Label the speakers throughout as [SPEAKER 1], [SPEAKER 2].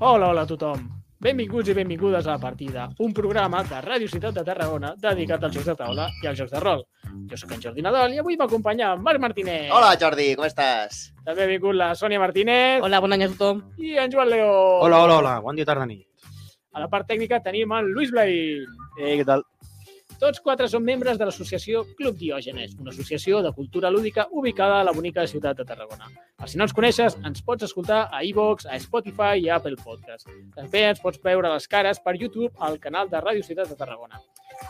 [SPEAKER 1] Hola, hola a tothom. Benvinguts i benvingudes a La Partida, un programa de Ràdio Ciutat de Tarragona dedicat als jocs de taula i als jocs de rol. Jo sóc en Jordi Nadal i avui m'acompanya en Marc Martínez.
[SPEAKER 2] Eh,
[SPEAKER 3] Hola, Jordi, com estàs?
[SPEAKER 1] També ha vingut la Sònia Martínez
[SPEAKER 2] Hola, bon any a tothom.
[SPEAKER 1] i en Joan Leó.
[SPEAKER 4] Hola, hola, hola. Bon dia, tarda, nit.
[SPEAKER 1] A la part tècnica tenim en Lluís Blain.
[SPEAKER 5] Eh, què tal?
[SPEAKER 1] Tots quatre són membres de l'associació Club Diògenes, una associació de cultura lúdica ubicada a la bonica ciutat de Tarragona. Per si no ens coneixes, ens pots escoltar a iVox, a Spotify i a Apple Podcast. També ens pots veure les cares per YouTube al canal de Ràdio Ciutat de Tarragona.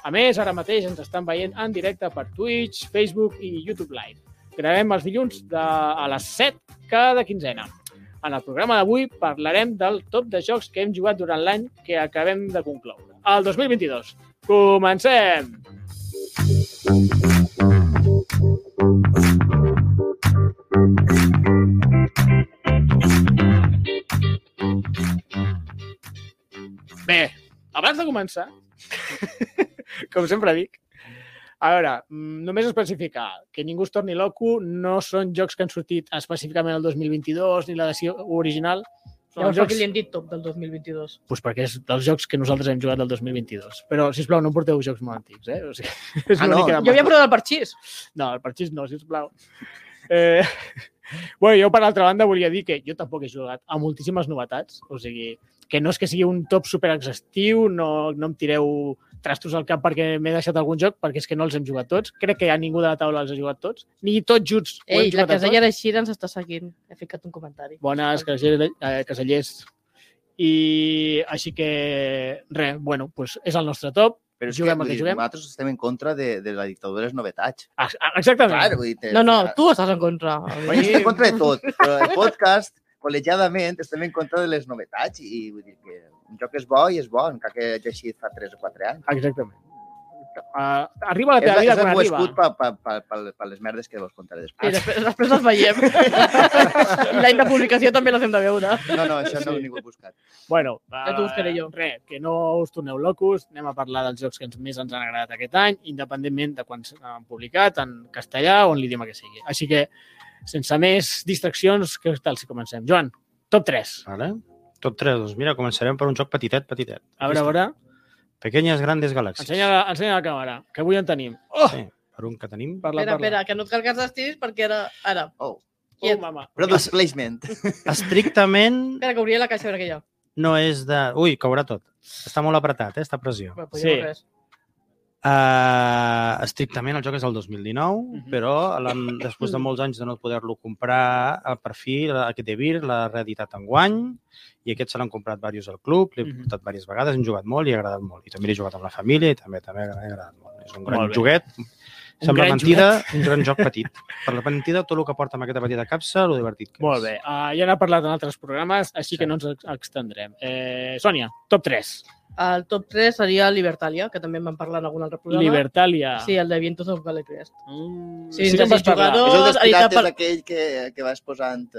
[SPEAKER 1] A més, ara mateix ens estan veient en directe per Twitch, Facebook i YouTube Live. Gravem els dilluns de, a les 7 cada quinzena. En el programa d'avui parlarem del top de jocs que hem jugat durant l'any que acabem de concloure. El 2022. Comencem! Bé, abans de començar, com sempre dic, a veure, mm, només especificar que ningú es torni loco, no són jocs que han sortit específicament el 2022 ni l'edició original. Són
[SPEAKER 2] Llavors, per
[SPEAKER 1] jocs...
[SPEAKER 2] què li hem dit top del 2022?
[SPEAKER 1] Pues perquè és dels jocs que nosaltres hem jugat del 2022. Però, si plau, no em porteu jocs molt antics, eh? O sigui, és
[SPEAKER 3] Ah,
[SPEAKER 1] l'únic
[SPEAKER 3] no.
[SPEAKER 1] que
[SPEAKER 2] Jo havia
[SPEAKER 1] demano.
[SPEAKER 2] provat el parxís.
[SPEAKER 1] No, el parxís no, sisplau. Eh... Bueno, jo, per altra banda, volia dir que jo tampoc he jugat a moltíssimes novetats, o sigui, que no és que sigui un top super exhaustiu, no, no em tireu trastos al cap perquè m'he deixat algun joc, perquè és que no els hem jugat tots. Crec que a ningú de la taula els ha jugat tots, ni tots junts ho hem
[SPEAKER 2] Ei,
[SPEAKER 1] jugat a
[SPEAKER 2] la
[SPEAKER 1] tots.
[SPEAKER 3] eh?
[SPEAKER 2] casella de Xira ens està seguint. He ficat un comentari.
[SPEAKER 1] Bones, casellers. Eh, casellers. I així que, res, bueno, pues és el nostre top.
[SPEAKER 3] Però és
[SPEAKER 1] Juguem
[SPEAKER 3] que,
[SPEAKER 1] al
[SPEAKER 3] vull
[SPEAKER 1] que
[SPEAKER 3] dir,
[SPEAKER 1] juguem.
[SPEAKER 3] nosaltres estem en contra de, de la dictadura de les novetats.
[SPEAKER 1] Ah, ah, Exactament.
[SPEAKER 3] Clar, vull dir, te-
[SPEAKER 2] No, no, tu estàs en contra.
[SPEAKER 3] Bueno, jo estic en contra de tot, però el podcast, col·legiadament, estem en contra de les novetats i vull dir que un joc és bo i és bo, encara que hagi eixit fa 3 o 4 anys.
[SPEAKER 1] Exactament. Uh, arriba a la
[SPEAKER 3] És,
[SPEAKER 1] teva
[SPEAKER 3] la-
[SPEAKER 1] vida
[SPEAKER 3] és el
[SPEAKER 1] quan
[SPEAKER 3] meu
[SPEAKER 1] arriba.
[SPEAKER 3] escut per pa, pa, pa, pa les merdes que vos contaré
[SPEAKER 2] I
[SPEAKER 3] després.
[SPEAKER 2] després, després les veiem. I l'any de publicació també les hem de veure.
[SPEAKER 3] No, no, això no ho he ningú buscat.
[SPEAKER 1] Bueno,
[SPEAKER 2] Ja t'ho buscaré jo.
[SPEAKER 1] Res, que no us torneu locos, anem a parlar dels jocs que ens- més ens han agradat aquest any, independentment de quan s'han publicat, en castellà o en l'idioma que sigui. Així que, sense més distraccions, què tal si comencem? Joan, top 3.
[SPEAKER 4] Vale? Tot tres, doncs mira, començarem per un joc petitet, petitet.
[SPEAKER 1] A veure, a veure,
[SPEAKER 4] Pequeñes grandes galàxies.
[SPEAKER 1] ensenya la, ensenya la càmera, que avui en tenim. Oh!
[SPEAKER 4] Sí, per un que tenim.
[SPEAKER 1] Parla,
[SPEAKER 2] Espera,
[SPEAKER 1] parla.
[SPEAKER 2] espera, que no et cargues les tiris perquè ara... Ara,
[SPEAKER 3] Oh,
[SPEAKER 1] Oh, mama.
[SPEAKER 3] product placement.
[SPEAKER 4] Estrictament
[SPEAKER 2] espera que obria la caixa a veure què hi ha.
[SPEAKER 4] no és de... Ui, caurà tot. Està molt apretat, eh, esta pressió.
[SPEAKER 2] Bueno,
[SPEAKER 1] Sí.
[SPEAKER 2] sí. Res.
[SPEAKER 4] Uh, estrictament el joc és el 2019,
[SPEAKER 1] Mhm.
[SPEAKER 4] però l'han- després de molts anys de no poder-lo comprar, eh, per fi la- aquest Evir l'ha reeditat enguany i aquest se l'han comprat diversos al club, l'he
[SPEAKER 1] Mhm.
[SPEAKER 4] portat diverses vegades, hem jugat molt i ha agradat molt. I també l'he jugat amb la família i també també ha agradat molt. És un gran
[SPEAKER 1] Molt bé.
[SPEAKER 4] joguet, sembla
[SPEAKER 1] gran
[SPEAKER 4] mentida, un gran joc petit. Per la mentida, tot el que porta amb aquesta petita capsa, el divertit que
[SPEAKER 1] Molt
[SPEAKER 4] és.
[SPEAKER 1] bé, uh, ja n'ha parlat en altres programes, així
[SPEAKER 4] Sí.
[SPEAKER 1] que no ens ex- extendrem. Eh, Sònia, top 3.
[SPEAKER 2] El top 3 seria Libertalia, que també en vam parlar en algun altre programa.
[SPEAKER 1] Libertalia.
[SPEAKER 2] Sí, el de Vientos of Galacrest.
[SPEAKER 1] Mm,
[SPEAKER 2] Sí,
[SPEAKER 1] que en
[SPEAKER 2] sí,
[SPEAKER 1] vas parlar.
[SPEAKER 2] jugador.
[SPEAKER 3] És el dels
[SPEAKER 2] Editat
[SPEAKER 3] pirates
[SPEAKER 2] per-
[SPEAKER 3] aquell que, que vas posant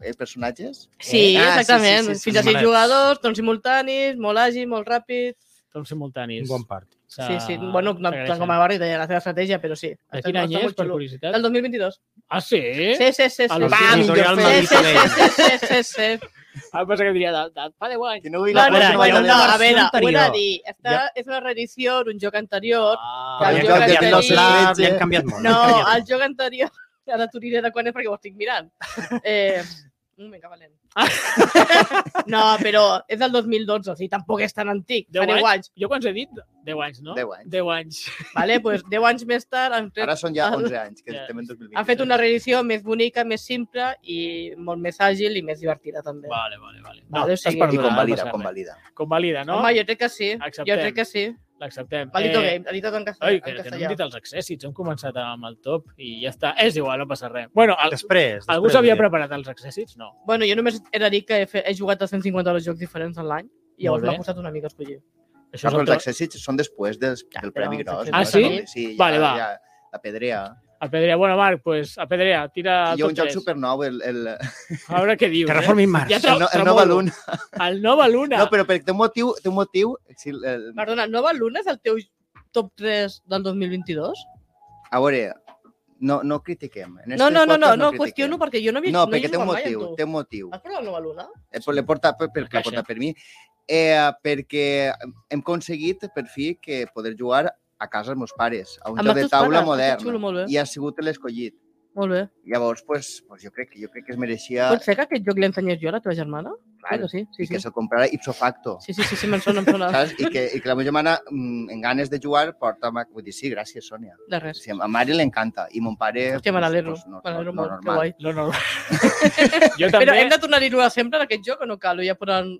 [SPEAKER 3] eh, personatges?
[SPEAKER 2] Sí,
[SPEAKER 3] Ah, sí,
[SPEAKER 2] Eh, exactament.
[SPEAKER 3] sí, sí, sí.
[SPEAKER 2] Fins a sis
[SPEAKER 4] Malets.
[SPEAKER 2] jugadors, tons simultanis, molt àgil, molt ràpid.
[SPEAKER 1] Tom simultanis.
[SPEAKER 4] Un bon part.
[SPEAKER 2] Sí, sí. Bueno, no, tant com a barri, deia la seva estratègia, però sí.
[SPEAKER 1] De
[SPEAKER 2] Està-
[SPEAKER 1] quin any
[SPEAKER 2] està
[SPEAKER 1] és,
[SPEAKER 2] molt
[SPEAKER 1] per
[SPEAKER 2] xulo.
[SPEAKER 1] curiositat?
[SPEAKER 2] Del 2022.
[SPEAKER 1] Ah, sí?
[SPEAKER 2] Sí, sí, sí. sí.
[SPEAKER 1] El
[SPEAKER 2] Va,
[SPEAKER 3] sí,
[SPEAKER 4] Editorial
[SPEAKER 3] millor
[SPEAKER 2] Sí, sí,
[SPEAKER 4] Madrid.
[SPEAKER 2] sí, sí, sí, sí, sí.
[SPEAKER 1] Ah, em pensava que diria de, de fa 10 anys.
[SPEAKER 3] Que no vull
[SPEAKER 2] No,
[SPEAKER 3] la
[SPEAKER 2] no,
[SPEAKER 4] Bueno,
[SPEAKER 3] pròxima
[SPEAKER 2] bueno,
[SPEAKER 3] de
[SPEAKER 2] no, a
[SPEAKER 3] les-
[SPEAKER 2] veure,
[SPEAKER 4] versió
[SPEAKER 2] ho he de
[SPEAKER 4] anterior.
[SPEAKER 2] dir. Està,
[SPEAKER 4] Ja.
[SPEAKER 2] És una reedició d'un joc anterior.
[SPEAKER 1] Ah,
[SPEAKER 4] Però
[SPEAKER 2] el
[SPEAKER 4] hi ha
[SPEAKER 2] joc eh?
[SPEAKER 4] canviat
[SPEAKER 2] anterior-
[SPEAKER 4] molt clar, hi han canviat
[SPEAKER 3] Ah,
[SPEAKER 4] molt.
[SPEAKER 2] No,
[SPEAKER 4] hi han canviat
[SPEAKER 2] el joc anterior... Ara t'ho diré de quan és perquè ho estic mirant. Eh, un mica valent. No, però és del 2012, o sigui, tampoc és tan antic.
[SPEAKER 1] Deu
[SPEAKER 2] Fa 10 anys.
[SPEAKER 1] jo quan us he dit? 10 anys, no?
[SPEAKER 3] 10 anys.
[SPEAKER 1] 10 anys.
[SPEAKER 2] Vale? Pues 10 anys més tard han fet
[SPEAKER 3] Ara són ja 11 anys, que
[SPEAKER 1] Ja.
[SPEAKER 3] estem en 2020.
[SPEAKER 2] Han Ah. fet una reedició més bonica, més simple i molt més àgil i més divertida, també. Va,
[SPEAKER 1] Vale, vale, vale. No,
[SPEAKER 2] Vale, o
[SPEAKER 1] estàs
[SPEAKER 2] sigui-
[SPEAKER 3] I
[SPEAKER 1] perdonat.
[SPEAKER 3] convalida,
[SPEAKER 1] no passa
[SPEAKER 3] convalida.
[SPEAKER 1] res. Convalida,
[SPEAKER 2] no?
[SPEAKER 1] no?
[SPEAKER 2] Home, jo crec que sí.
[SPEAKER 1] Acceptem.
[SPEAKER 2] Jo crec que sí.
[SPEAKER 1] L'acceptem.
[SPEAKER 2] Palito eh... Game, editat en castellà.
[SPEAKER 1] Ai,
[SPEAKER 2] en
[SPEAKER 1] que, que no
[SPEAKER 2] castellà.
[SPEAKER 1] hem dit els accèssits, hem començat amb el top i ja està. És igual, no passa res. Bueno, el,
[SPEAKER 4] Després,
[SPEAKER 1] algú
[SPEAKER 4] després
[SPEAKER 1] s'havia
[SPEAKER 4] diré.
[SPEAKER 1] preparat els accèssits? No.
[SPEAKER 2] Bueno, jo només he de dir que he, fe... he jugat a 150 jocs diferents en l'any i
[SPEAKER 1] Molt
[SPEAKER 2] llavors
[SPEAKER 1] bé.
[SPEAKER 2] m'ha costat una mica escollir.
[SPEAKER 1] Això
[SPEAKER 3] No,
[SPEAKER 1] és
[SPEAKER 3] però
[SPEAKER 1] el,
[SPEAKER 3] els
[SPEAKER 1] teu-
[SPEAKER 3] accèssits són després del,
[SPEAKER 2] Ja,
[SPEAKER 3] del
[SPEAKER 2] però
[SPEAKER 3] Premi
[SPEAKER 2] els
[SPEAKER 3] Gros.
[SPEAKER 2] accèssits-
[SPEAKER 3] no?
[SPEAKER 1] Ah, sí?
[SPEAKER 3] També, sí ja,
[SPEAKER 1] Vale, va.
[SPEAKER 3] Ja, la pedrea.
[SPEAKER 1] el Pedrea. Bueno, Marc, pues, a Pedrea, tira
[SPEAKER 3] Ah, Hi
[SPEAKER 1] top
[SPEAKER 3] ha un joc
[SPEAKER 1] 3.
[SPEAKER 3] supernou, el, el,
[SPEAKER 1] A veure què dius. Eh?
[SPEAKER 4] Terraforming Mars.
[SPEAKER 1] Ja
[SPEAKER 3] el, no, el
[SPEAKER 1] tremolo.
[SPEAKER 3] Nova Luna.
[SPEAKER 1] El Nova Luna.
[SPEAKER 3] No, però per, té un motiu... Té un motiu si el, el,
[SPEAKER 2] Perdona, Nova Luna és el teu top 3 del 2022?
[SPEAKER 3] a veure, No, no critiquem. En
[SPEAKER 2] No,
[SPEAKER 3] este
[SPEAKER 2] no, no, no,
[SPEAKER 3] podcast
[SPEAKER 2] no,
[SPEAKER 3] critiquem.
[SPEAKER 2] qüestiono perquè jo no havia
[SPEAKER 3] No,
[SPEAKER 2] he
[SPEAKER 3] perquè té un
[SPEAKER 2] jugat mai
[SPEAKER 3] motiu,
[SPEAKER 2] amb tu. Ah,
[SPEAKER 3] té un motiu.
[SPEAKER 2] Has parlat nova luna?
[SPEAKER 3] Eh, L'he portat per, per,
[SPEAKER 1] La caixa.
[SPEAKER 3] portat per mi, eh, perquè hem aconseguit, per fi, que poder jugar a casa els meus pares, a un joc
[SPEAKER 2] Amb els
[SPEAKER 3] de
[SPEAKER 2] teus
[SPEAKER 3] taula
[SPEAKER 2] pares, ah, que xulo, molt
[SPEAKER 3] modern.
[SPEAKER 2] bé.
[SPEAKER 3] I ha sigut l'escollit.
[SPEAKER 2] Molt bé.
[SPEAKER 3] Llavors, pues, pues jo, crec, jo crec que es mereixia
[SPEAKER 2] Pot ser que aquest joc l'ensenyés jo a la teva germana?
[SPEAKER 3] clar,
[SPEAKER 2] Crec que sí, sí,
[SPEAKER 3] i Ah. que
[SPEAKER 2] sí.
[SPEAKER 3] se'l comprara ipso facto.
[SPEAKER 2] Sí, sí, sí, sí, me'n sona, em sona.
[SPEAKER 3] Saps? I, que, I que la meva germana, mm, en ganes de jugar, porta... ma- Vull dir, sí, gràcies, Sònia.
[SPEAKER 2] De res.
[SPEAKER 3] Sí, a Mari l'encanta i mon pare...
[SPEAKER 2] Hòstia, me n'alegro.
[SPEAKER 3] pues, no, no,
[SPEAKER 2] me n'alegro
[SPEAKER 3] no,
[SPEAKER 2] molt, que
[SPEAKER 3] normal.
[SPEAKER 2] guai.
[SPEAKER 1] No, no. jo també...
[SPEAKER 2] Però hem de tornar-hi a sempre en aquest joc o no cal? Ho Ja poden...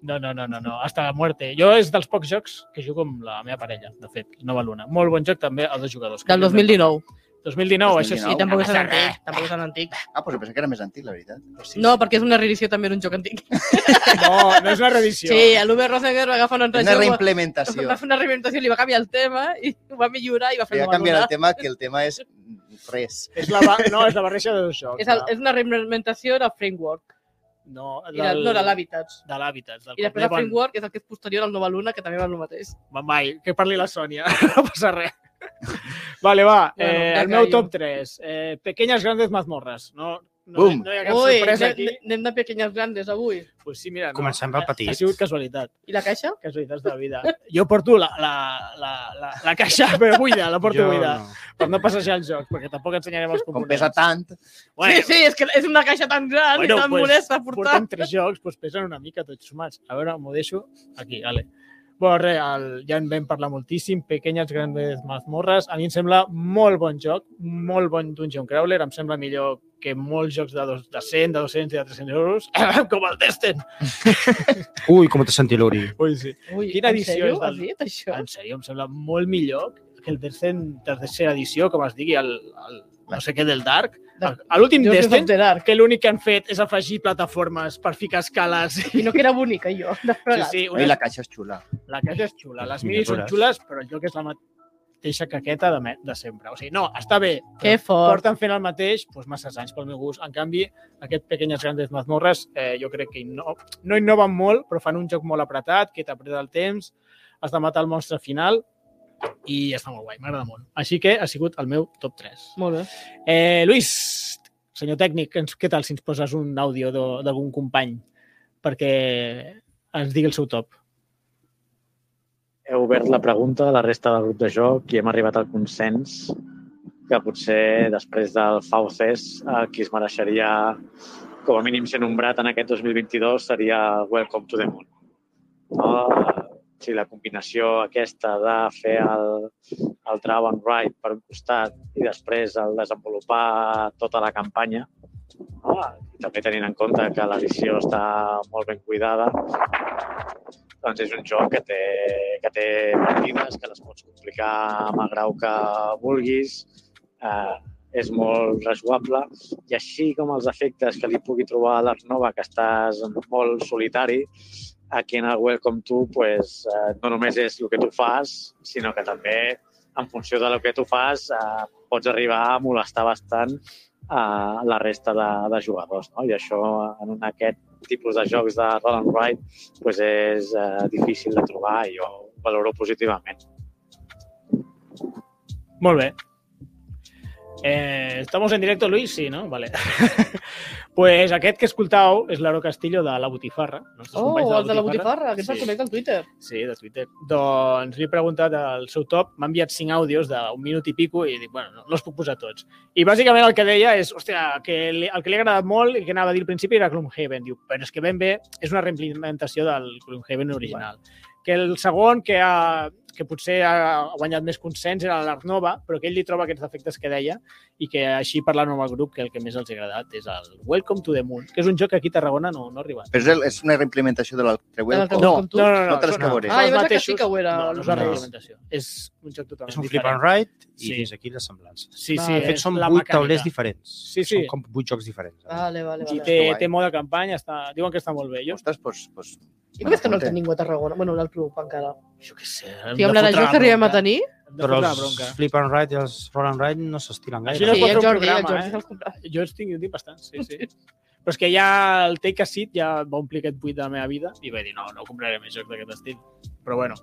[SPEAKER 1] No, no, no, no, no, hasta la muerte. Jo és dels pocs jocs que jugo amb la meva parella, de fet, Nova Luna. Molt bon joc també als dos jugadors.
[SPEAKER 2] Del 2019.
[SPEAKER 1] 2019, això sí.
[SPEAKER 2] Sí,
[SPEAKER 3] No,
[SPEAKER 2] tampoc
[SPEAKER 3] no
[SPEAKER 2] és
[SPEAKER 3] passa
[SPEAKER 2] tan antic. Tampoc és tan antic.
[SPEAKER 3] Ah, però pensava que era més antic, la veritat. Pues sí.
[SPEAKER 2] No, perquè és una reedició també d'un joc antic.
[SPEAKER 1] No, no és una reedició.
[SPEAKER 2] Sí, a l'Uber Rosenberg va agafar un altre
[SPEAKER 3] És una
[SPEAKER 2] joc,
[SPEAKER 3] reimplementació.
[SPEAKER 2] va fer una reinventació, li va canviar el tema i ho va millorar i va fer
[SPEAKER 3] Voy a
[SPEAKER 2] Nova
[SPEAKER 3] canviar
[SPEAKER 2] Luna.
[SPEAKER 3] el tema, que el tema és mm, res.
[SPEAKER 1] És la, ba... no, és la barreja de dos jocs.
[SPEAKER 2] És, el, és una reinventació del framework,
[SPEAKER 1] No,
[SPEAKER 2] i del, no de l'hàbitat.
[SPEAKER 1] De l'hàbitat. del
[SPEAKER 2] I després el
[SPEAKER 1] Complement.
[SPEAKER 2] framework és el que és posterior al Nova Luna, que també va el mateix.
[SPEAKER 1] Mai, que parli la Sònia, no passa res. Vale, va,
[SPEAKER 2] Bueno,
[SPEAKER 1] eh,
[SPEAKER 2] ja
[SPEAKER 1] el meu
[SPEAKER 2] callo.
[SPEAKER 1] top 3. Eh, pequeñas grandes mazmorras. No, no,
[SPEAKER 3] Bum.
[SPEAKER 1] no hi ha cap
[SPEAKER 2] Ui,
[SPEAKER 1] sorpresa
[SPEAKER 2] anem,
[SPEAKER 1] aquí.
[SPEAKER 2] anem de pequeñas grandes avui.
[SPEAKER 1] Pues sí, mira, no.
[SPEAKER 4] Comencem pel
[SPEAKER 1] Ha-
[SPEAKER 4] petit.
[SPEAKER 1] Ha sigut casualitat,
[SPEAKER 2] I la caixa?
[SPEAKER 1] casualitats de la vida. Jo porto la, la, la, la, la caixa, però buida, la porto buida.
[SPEAKER 4] no.
[SPEAKER 1] Per no passejar el joc, perquè tampoc ensenyarem els
[SPEAKER 3] Com
[SPEAKER 1] components.
[SPEAKER 3] pesa tant,
[SPEAKER 1] Bueno,
[SPEAKER 2] sí, sí, és que és una caixa tan gran
[SPEAKER 1] Bueno,
[SPEAKER 2] i tan
[SPEAKER 1] pues,
[SPEAKER 2] molesta a portar.
[SPEAKER 1] portem tres jocs, doncs pesen una mica tots sumats. A veure, m'ho deixo aquí, vale. Bueno, res, el, ja en vam parlar moltíssim, Pequeñas Grandes Mazmorras. A mi em sembla molt bon joc, molt bon Dungeon Crawler. Em sembla millor que molts jocs de, dos, de 100, de 200 i de 300 euros, com el Destiny.
[SPEAKER 4] Ui, com t'has sentit, l'Uri.
[SPEAKER 1] Ui, sí.
[SPEAKER 2] Ui,
[SPEAKER 1] Quina
[SPEAKER 2] en
[SPEAKER 1] edició
[SPEAKER 2] sèrio?
[SPEAKER 1] és del-
[SPEAKER 2] Has dit això?
[SPEAKER 1] En sèrio, em sembla molt millor que el Destiny de tercera edició, com es digui, el, el no sé què del Dark. El- a L'últim
[SPEAKER 2] Jo sé
[SPEAKER 1] Destiny,
[SPEAKER 2] de Dark.
[SPEAKER 1] que l'únic que han fet és afegir plataformes per ficar escales.
[SPEAKER 2] I no que era bonica, jo. De
[SPEAKER 1] Sí,
[SPEAKER 2] sí, sí.
[SPEAKER 1] sí,
[SPEAKER 3] i
[SPEAKER 1] unes
[SPEAKER 3] eh, la caixa és xula.
[SPEAKER 1] La caixa és xula, les
[SPEAKER 4] Les
[SPEAKER 1] minis són
[SPEAKER 4] miniatures.
[SPEAKER 1] xules, però el joc és la mateixa caqueta de, me- de sempre. O sigui, no, està bé,
[SPEAKER 2] Que
[SPEAKER 1] però
[SPEAKER 2] fort.
[SPEAKER 1] porten fent el mateix doncs, masses anys pel meu gust. En canvi, aquest Pequeñas Grandes Mazmorres eh, jo crec que no, no innoven molt, però fan un joc molt apretat, que t'apreta el temps, has de matar el monstre final i està molt guai, m'agrada molt. Així que ha sigut el meu top 3.
[SPEAKER 2] Molt bé.
[SPEAKER 1] Eh, Lluís, senyor tècnic, ens- què tal si ens poses un àudio d'o- d'algun company perquè ens digui el seu top?
[SPEAKER 5] he obert la pregunta a la resta del grup de joc i hem arribat al consens que potser després del Fauces el qui es mereixeria com a mínim ser nombrat en aquest 2022 seria el Welcome to the Moon. No? Si la combinació aquesta de fer el, el Draw and Ride per un costat i després el desenvolupar tota la campanya, no? i també tenint en compte que l'edició està molt ben cuidada, doncs és un joc que té, que té partides, que les pots complicar amb el grau que vulguis, eh, és molt rejugable, i així com els efectes que li pugui trobar a l'Arnova, que estàs molt solitari, aquí en el Welcome To pues, eh, no només és el que tu fas, sinó que també, en funció del que tu fas, eh, pots arribar a molestar bastant a la resta de, de jugadors. No? I això, en un, aquest tipus de jocs de roll and ride, pues és eh, difícil de trobar i jo ho valoro positivament.
[SPEAKER 1] Molt bé. Eh, estamos en directo, Luis? Sí, no? Vale. pues aquest que escoltau és l'Aro Castillo de La Botifarra. nostres
[SPEAKER 2] Oh,
[SPEAKER 1] companys
[SPEAKER 2] el de la botifarra, que ens el
[SPEAKER 1] Sí,
[SPEAKER 2] connecta al Twitter.
[SPEAKER 1] sí, de Twitter. Doncs li he preguntat al seu top, m'ha enviat cinc àudios d'un minut i pico i dic, bueno, no, no els puc posar tots. I bàsicament el que deia és, hòstia, que li, el que li ha agradat molt i que anava a dir al principi era Gloomhaven. Diu, però és que ben bé és una reimplementació del Gloomhaven original. Que el segon, que, ha, que potser ha guanyat més consens, era l'Arnova, però que ell li troba aquests defectes que deia i que així parlant amb el grup que el que més els ha agradat és el Welcome to the Moon, que és un joc que aquí a Tarragona no, no ha arribat.
[SPEAKER 3] Però és, el, és una reimplementació de l'altre web.
[SPEAKER 2] l'altre
[SPEAKER 3] No.
[SPEAKER 2] com tu?
[SPEAKER 3] No te les
[SPEAKER 1] són-
[SPEAKER 3] que veuré.
[SPEAKER 1] són
[SPEAKER 2] Ah,
[SPEAKER 1] els
[SPEAKER 2] jo pensava que
[SPEAKER 1] mateixos.
[SPEAKER 2] sí que ho era.
[SPEAKER 1] No, no és la
[SPEAKER 4] No.
[SPEAKER 1] reimplementació. És un joc totalment
[SPEAKER 4] És un flip and
[SPEAKER 1] diferent.
[SPEAKER 4] ride i
[SPEAKER 1] Sí.
[SPEAKER 4] fins aquí les semblances.
[SPEAKER 1] Sí, sí,
[SPEAKER 2] Vale.
[SPEAKER 4] De
[SPEAKER 1] és
[SPEAKER 4] fet, són
[SPEAKER 1] la
[SPEAKER 4] vuit
[SPEAKER 1] mecànica.
[SPEAKER 4] taulers diferents.
[SPEAKER 1] Sí, sí. Ah,
[SPEAKER 4] Són com vuit jocs diferents.
[SPEAKER 2] Vale, vale,
[SPEAKER 1] I
[SPEAKER 2] vale.
[SPEAKER 1] té,
[SPEAKER 3] Està guai.
[SPEAKER 1] té mode campanya, està, diuen que està molt bé. Jo,
[SPEAKER 3] Ostres, pues, pues,
[SPEAKER 2] I com és que no el tenim a Tarragona? Bueno, el club encara.
[SPEAKER 1] jo què sé.
[SPEAKER 2] Sí, amb la regió que arribem a
[SPEAKER 1] eh?
[SPEAKER 2] tenir...
[SPEAKER 4] Però
[SPEAKER 1] Però
[SPEAKER 4] els flip and ride i els roll and ride no s'estilen
[SPEAKER 1] Així
[SPEAKER 4] gaire.
[SPEAKER 1] no
[SPEAKER 2] Sí,
[SPEAKER 1] pot fer
[SPEAKER 2] el
[SPEAKER 1] un
[SPEAKER 2] Jordi, el
[SPEAKER 1] programa,
[SPEAKER 2] Jordi
[SPEAKER 1] eh?
[SPEAKER 2] se'ls compra.
[SPEAKER 1] Jo els tinc, jo en tinc bastants, sí, sí. Però és que ja el Take a Seat ja va omplir aquest buit de la meva vida i vaig dir, no, no compraré més jocs d'aquest estil. Però bueno,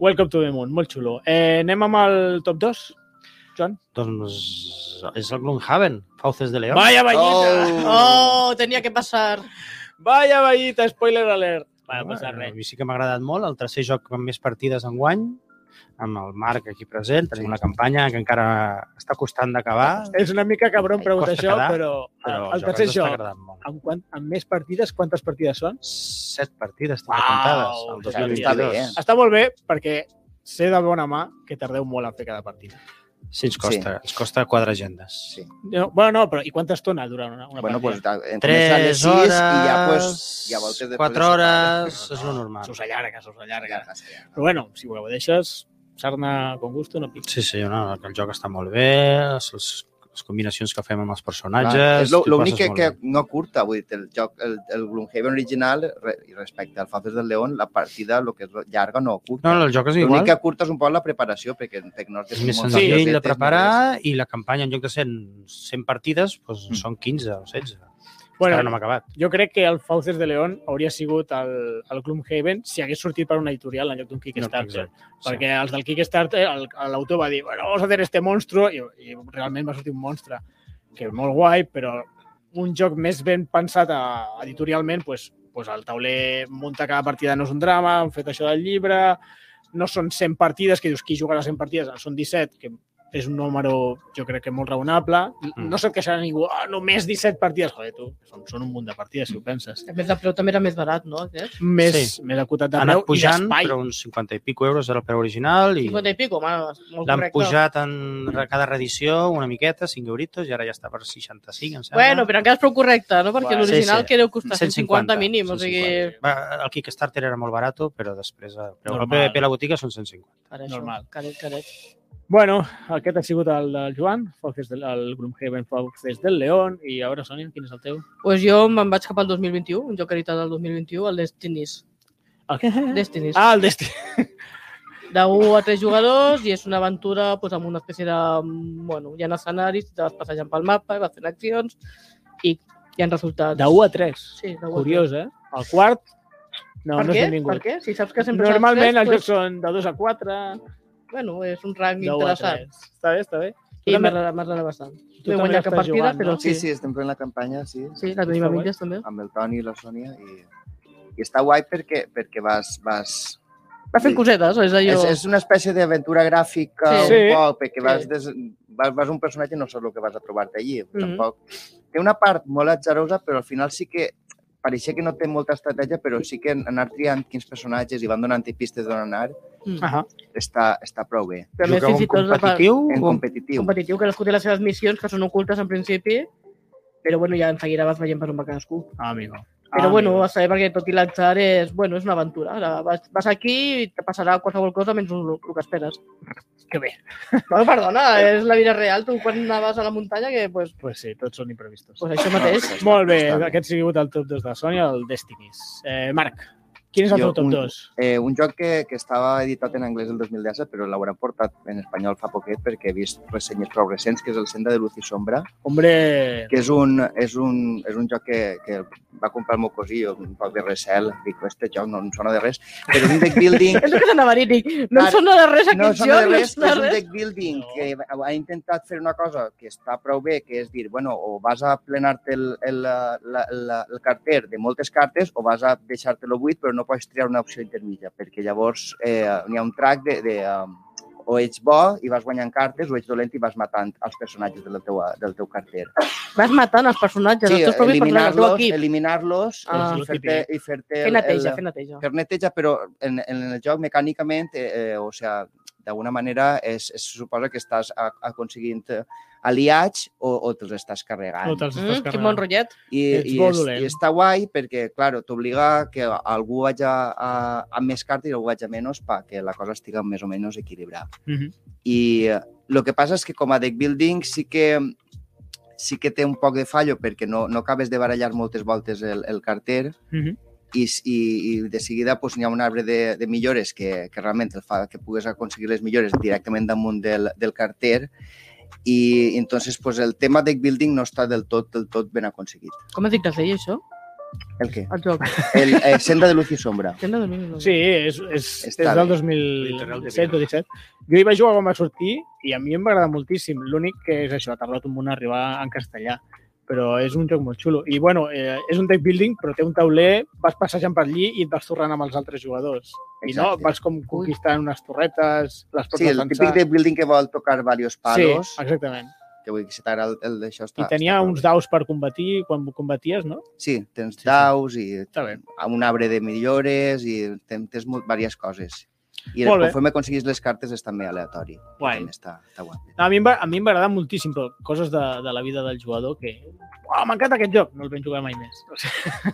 [SPEAKER 1] Welcome to the Moon, molt xulo. Eh, anem amb el top 2? Joan?
[SPEAKER 4] Doncs és el Gloomhaven, Fauces de León.
[SPEAKER 1] Vaya vallita!
[SPEAKER 3] Oh.
[SPEAKER 2] Oh, tenia que passar.
[SPEAKER 1] Vaya vallita, spoiler alert. Va, no passa
[SPEAKER 4] Eh,
[SPEAKER 1] res.
[SPEAKER 4] A mi sí que m'ha agradat molt. El tercer joc amb més partides en guany, amb el Marc aquí present. Tenim una campanya que encara està costant d'acabar,
[SPEAKER 1] És una mica cabron
[SPEAKER 4] Ai,
[SPEAKER 1] preguntar
[SPEAKER 4] costa
[SPEAKER 1] això,
[SPEAKER 4] quedar,
[SPEAKER 1] però, Ah,
[SPEAKER 4] però
[SPEAKER 1] el tercer
[SPEAKER 4] ens està
[SPEAKER 1] joc,
[SPEAKER 4] agradant molt.
[SPEAKER 1] amb, quant, amb més partides, quantes partides són?
[SPEAKER 4] Set partides tinc
[SPEAKER 1] Uau,
[SPEAKER 4] comptades, el
[SPEAKER 1] està bé,
[SPEAKER 4] 2022.
[SPEAKER 3] està bé, eh?
[SPEAKER 1] Està molt bé, perquè sé de bona mà que tardeu molt a fer cada partida.
[SPEAKER 4] Sí, ens costa, ens costa quatre agendes.
[SPEAKER 3] Sí.
[SPEAKER 1] No, bueno, no, però i quanta estona dura una, una
[SPEAKER 3] Bueno, pues,
[SPEAKER 1] partida?
[SPEAKER 3] ta- em comença a les
[SPEAKER 4] 3
[SPEAKER 3] sis
[SPEAKER 4] hores,
[SPEAKER 3] i ja, pues, ja voltes de
[SPEAKER 4] quatre
[SPEAKER 3] poder
[SPEAKER 4] hores,
[SPEAKER 3] sopar.
[SPEAKER 4] és lo normal. Ah,
[SPEAKER 1] S'us allarga, s'us allarga.
[SPEAKER 3] Llargues, ja.
[SPEAKER 1] Però bueno, si ho deixes, sarna con gusto, no pica.
[SPEAKER 4] Sí, sí, no, el joc està molt bé, les, les combinacions que fem amb els personatges...
[SPEAKER 3] Clar, és lo-
[SPEAKER 4] t'ho
[SPEAKER 3] l'únic
[SPEAKER 4] passes
[SPEAKER 3] que,
[SPEAKER 4] molt
[SPEAKER 3] que
[SPEAKER 4] bé.
[SPEAKER 3] no curta, vull dir, el joc, el, el Gloomhaven original, re, i respecte al Fauces del León, la partida, el que és llarga, no curta.
[SPEAKER 4] No, no, el joc és
[SPEAKER 3] L'únic
[SPEAKER 4] igual.
[SPEAKER 3] que curta és un poc la preparació, perquè en Tecnord
[SPEAKER 4] És
[SPEAKER 3] té
[SPEAKER 4] més
[SPEAKER 3] moltes
[SPEAKER 4] senzill de
[SPEAKER 3] cosetes,
[SPEAKER 4] preparar i la campanya, en lloc de 100, 100 partides, doncs
[SPEAKER 3] Mm.
[SPEAKER 4] són 15 o 16.
[SPEAKER 1] Bueno,
[SPEAKER 4] Bueno, Encara no m'ha acabat.
[SPEAKER 1] jo crec que el Fauces de León hauria sigut el, el Gloomhaven si hagués sortit per una editorial en lloc d'un Kickstarter.
[SPEAKER 4] exacte.
[SPEAKER 1] Sí. Perquè els del Kickstarter, el- l'autor va dir, bueno, vamos a hacer este monstruo, i, i realment va sortir un monstre, que és molt guai, però un joc més ben pensat a, editorialment, pues, pues el tauler munta cada partida no és un drama, han fet això del llibre, no són 100 partides, que dius, qui jugarà 100 partides? En Són 17, que és un número, jo crec que molt raonable.
[SPEAKER 4] Mm.
[SPEAKER 1] No se't queixarà ningú, ah, només 17 partides. Joder, tu, són, són un munt de partides, si ho penses.
[SPEAKER 2] A més, el preu també era més barat, no? Aquest?
[SPEAKER 1] Més,
[SPEAKER 4] Sí.
[SPEAKER 1] sí. més acotat de
[SPEAKER 4] Ha
[SPEAKER 1] preu
[SPEAKER 4] anat pujant,
[SPEAKER 1] i d'espai.
[SPEAKER 4] però uns 50 i pico euros era el preu original i
[SPEAKER 2] 50 i pico, home, molt
[SPEAKER 4] l'han
[SPEAKER 2] correcte.
[SPEAKER 4] pujat en re- cada reedició una miqueta, 5 euritos, i ara ja està per 65, em sembla.
[SPEAKER 2] Bueno, però encara és prou correcte, no? Perquè
[SPEAKER 1] Bueno,
[SPEAKER 2] l'original
[SPEAKER 4] sí, sí.
[SPEAKER 2] que deu costar 150 mínim, o sigui...
[SPEAKER 4] 150. Va, el Kickstarter era molt barat, però després el preu
[SPEAKER 1] Normal.
[SPEAKER 4] el PVP a la botiga són 150.
[SPEAKER 2] Per això,
[SPEAKER 1] Normal.
[SPEAKER 2] Caret, caret.
[SPEAKER 1] Bueno, aquest ha sigut el del Joan, Foxes del, el Gloomhaven Foxes del León, i a veure, Sònia, quin és el teu?
[SPEAKER 2] Pues jo me'n vaig cap al 2021, un joc editat del 2021, el Destiny's.
[SPEAKER 1] El què?
[SPEAKER 2] Destiny's.
[SPEAKER 1] Ah, el Destiny.
[SPEAKER 2] De 1 a 3 jugadors i és una aventura pues, amb una espècie de... mm, Bueno, hi ha escenaris, te vas passejant pel mapa, vas fent accions i hi ha resultats.
[SPEAKER 1] De 1 a 3.
[SPEAKER 2] Sí, de 1 a 3.
[SPEAKER 1] Curiós, eh? El quart, no, no
[SPEAKER 2] per què?
[SPEAKER 1] és ningú.
[SPEAKER 2] Per què? Si saps que sempre
[SPEAKER 1] Normalment els
[SPEAKER 2] són
[SPEAKER 1] jocs
[SPEAKER 2] els 3,
[SPEAKER 1] són de 2 a 4,
[SPEAKER 2] doncs, bueno, és un rang
[SPEAKER 1] de 1 a 3.
[SPEAKER 2] interessant.
[SPEAKER 1] Està bé, està bé.
[SPEAKER 2] I
[SPEAKER 1] també-
[SPEAKER 2] m'agrada m'agrada bastant.
[SPEAKER 1] Tu
[SPEAKER 2] No he
[SPEAKER 1] també
[SPEAKER 2] guanyat cap
[SPEAKER 1] estàs
[SPEAKER 2] partida,
[SPEAKER 1] jugant,
[SPEAKER 2] però
[SPEAKER 1] no?
[SPEAKER 3] Sí, sí, estem fent la campanya, sí.
[SPEAKER 2] Sí, la tenim a
[SPEAKER 1] Està
[SPEAKER 2] mitges també.
[SPEAKER 3] amb el Toni i la Sònia i, i està guai perquè, perquè vas, vas...
[SPEAKER 2] Va fent
[SPEAKER 3] Ah, Sí.
[SPEAKER 2] cosetes, és allò...
[SPEAKER 3] És, és una espècie d'aventura gràfica
[SPEAKER 2] Sí.
[SPEAKER 3] sí. un
[SPEAKER 1] Sí.
[SPEAKER 3] poc, perquè
[SPEAKER 2] Sí.
[SPEAKER 3] vas, des... vas, vas un personatge i no saps el que vas a trobar-te allí, mm
[SPEAKER 2] Mhm.
[SPEAKER 3] -hmm. tampoc. Té una part molt atzarosa, però al final sí que pareixia que no té molta estratègia, però sí que anar triant quins personatges i van donant pistes d'on anar,
[SPEAKER 2] Mm.
[SPEAKER 1] Ahà.
[SPEAKER 3] està, està prou bé.
[SPEAKER 2] També
[SPEAKER 4] Jugueu
[SPEAKER 2] fins
[SPEAKER 4] en
[SPEAKER 2] i tot la part-
[SPEAKER 4] competitiu?
[SPEAKER 3] En
[SPEAKER 4] o en-
[SPEAKER 3] competitiu.
[SPEAKER 2] competitiu, que cadascú té les seves missions, que són ocultes en principi, però bueno, ja en seguida vas veient per on va cadascú.
[SPEAKER 1] Ah, Amigo.
[SPEAKER 2] Però
[SPEAKER 1] Amigo.
[SPEAKER 3] Ah,
[SPEAKER 2] bueno, vas saber perquè tot i l'atzar és, bueno, és una aventura. Ara vas, vas aquí i te passarà qualsevol cosa menys el, el que esperes.
[SPEAKER 1] Que bé.
[SPEAKER 2] Bueno, perdona, és la vida real. Tu quan anaves a la muntanya, que pues,
[SPEAKER 1] Pues sí, tots són imprevistos.
[SPEAKER 2] pues això mateix.
[SPEAKER 3] Està-
[SPEAKER 1] Molt bé,
[SPEAKER 3] està
[SPEAKER 1] aquest ha sigut el top 2 de Sònia, el Destinies. Eh, Marc, quin és el
[SPEAKER 3] Jo,
[SPEAKER 1] teu top
[SPEAKER 3] un-
[SPEAKER 1] 2?
[SPEAKER 3] Eh, un joc que, que estava editat en anglès el 2017, però l'hauran portat en espanyol fa poquet perquè he vist ressenyes prou recents, que és el Senda de Luz i Sombra,
[SPEAKER 1] Hombre,
[SPEAKER 3] que és un, és un, és un joc que, que va comprar el meu cosí, un poc de recel, dic, este joc no em sona de res, però és un deck building...
[SPEAKER 2] És el que s'anava a dir, dic, no em
[SPEAKER 3] Ara,
[SPEAKER 2] sona de res
[SPEAKER 3] No
[SPEAKER 2] aquest
[SPEAKER 3] sona de
[SPEAKER 2] joc, no em
[SPEAKER 3] res, però
[SPEAKER 2] sona
[SPEAKER 3] és
[SPEAKER 2] de
[SPEAKER 3] un
[SPEAKER 2] res.
[SPEAKER 3] deck building
[SPEAKER 1] No.
[SPEAKER 3] que ha intentat fer una cosa que està prou bé, que és dir, bueno, o vas a plenar-te el, el, la, la, la- el carter de moltes cartes o vas a deixar-te-lo buit, però no pots triar una opció intermitja, perquè llavors eh, n'hi ha un track de, de um, o ets bo i vas guanyant cartes o ets dolent i vas matant els personatges del teu, del teu carter.
[SPEAKER 2] Vas matant els personatges,
[SPEAKER 3] Sí,
[SPEAKER 2] els teus propis personatges, el teu
[SPEAKER 3] eliminar-los eliminar
[SPEAKER 2] equip. Ah.
[SPEAKER 3] i fer-te... i fer-te
[SPEAKER 2] Fer
[SPEAKER 3] el-
[SPEAKER 2] neteja,
[SPEAKER 3] el-
[SPEAKER 2] fer neteja.
[SPEAKER 3] fer neteja, però en, en el joc mecànicament, eh, eh, o sea, d'alguna manera es, es suposa que estàs a, aconseguint eh, aliats o, o te'ls estàs carregant.
[SPEAKER 1] no te'ls estàs
[SPEAKER 2] Mm, quin
[SPEAKER 1] carregant.
[SPEAKER 2] bon rotllet.
[SPEAKER 3] I,
[SPEAKER 1] ets
[SPEAKER 3] i,
[SPEAKER 1] bo
[SPEAKER 3] és,
[SPEAKER 1] dolent.
[SPEAKER 3] I està guai perquè, claro, t'obliga que algú vagi a, a, amb més cartes i algú vagi a menys perquè la cosa estiga més o menys equilibrada.
[SPEAKER 1] Mhm.
[SPEAKER 3] I el que passa és que com a deck building sí que sí que té un poc de fallo perquè no, no acabes de barallar moltes voltes el, el carter
[SPEAKER 1] Mhm.
[SPEAKER 3] i, i, i de seguida pues, n'hi ha un arbre de, de millores que, que realment el fa que pugues aconseguir les millores directament damunt del, del carter i entonces pues, el tema deck building no està del tot del tot ben aconseguit.
[SPEAKER 2] Com es dic de fer, això?
[SPEAKER 3] El què?
[SPEAKER 2] El joc.
[SPEAKER 3] El, eh, Senda de Luz i Sombra.
[SPEAKER 2] Tens de dormir no?
[SPEAKER 1] Sí, és, és, és
[SPEAKER 3] Està
[SPEAKER 1] del
[SPEAKER 3] bé.
[SPEAKER 1] 2007 o 17. Jo hi vaig jugar quan va sortir i a mi em va agradar moltíssim. L'únic que és això, ha tardat un munt a arribar en castellà però és un joc molt xulo. I, bueno, eh, és un deck building, però té un tauler, vas passejant per allí i et vas tornant amb els altres jugadors. I no,
[SPEAKER 3] Exacte.
[SPEAKER 1] vas com conquistant unes torretes, les pots
[SPEAKER 3] Sí, el típic de building que vol tocar diversos palos,
[SPEAKER 1] Sí, exactament.
[SPEAKER 3] que vull dir, si t'agrada el, el d'això
[SPEAKER 1] I
[SPEAKER 3] està...
[SPEAKER 1] tenia
[SPEAKER 3] està molt
[SPEAKER 1] uns
[SPEAKER 3] bé.
[SPEAKER 1] daus per combatir quan combaties, no?
[SPEAKER 3] Sí, tens
[SPEAKER 1] Sí, sí.
[SPEAKER 3] daus
[SPEAKER 1] Està bé.
[SPEAKER 3] i un arbre de millores i ten- tens molt, diverses coses. I
[SPEAKER 1] Molt bé.
[SPEAKER 3] conforme aconseguis les cartes és també aleatori.
[SPEAKER 1] Guai.
[SPEAKER 3] També està, està guai.
[SPEAKER 1] No, a mi em va, a mi em va agradar moltíssim, però coses de, de la vida del jugador que... Oh, m'encanta aquest joc! No el vam jugar mai més. O sigui,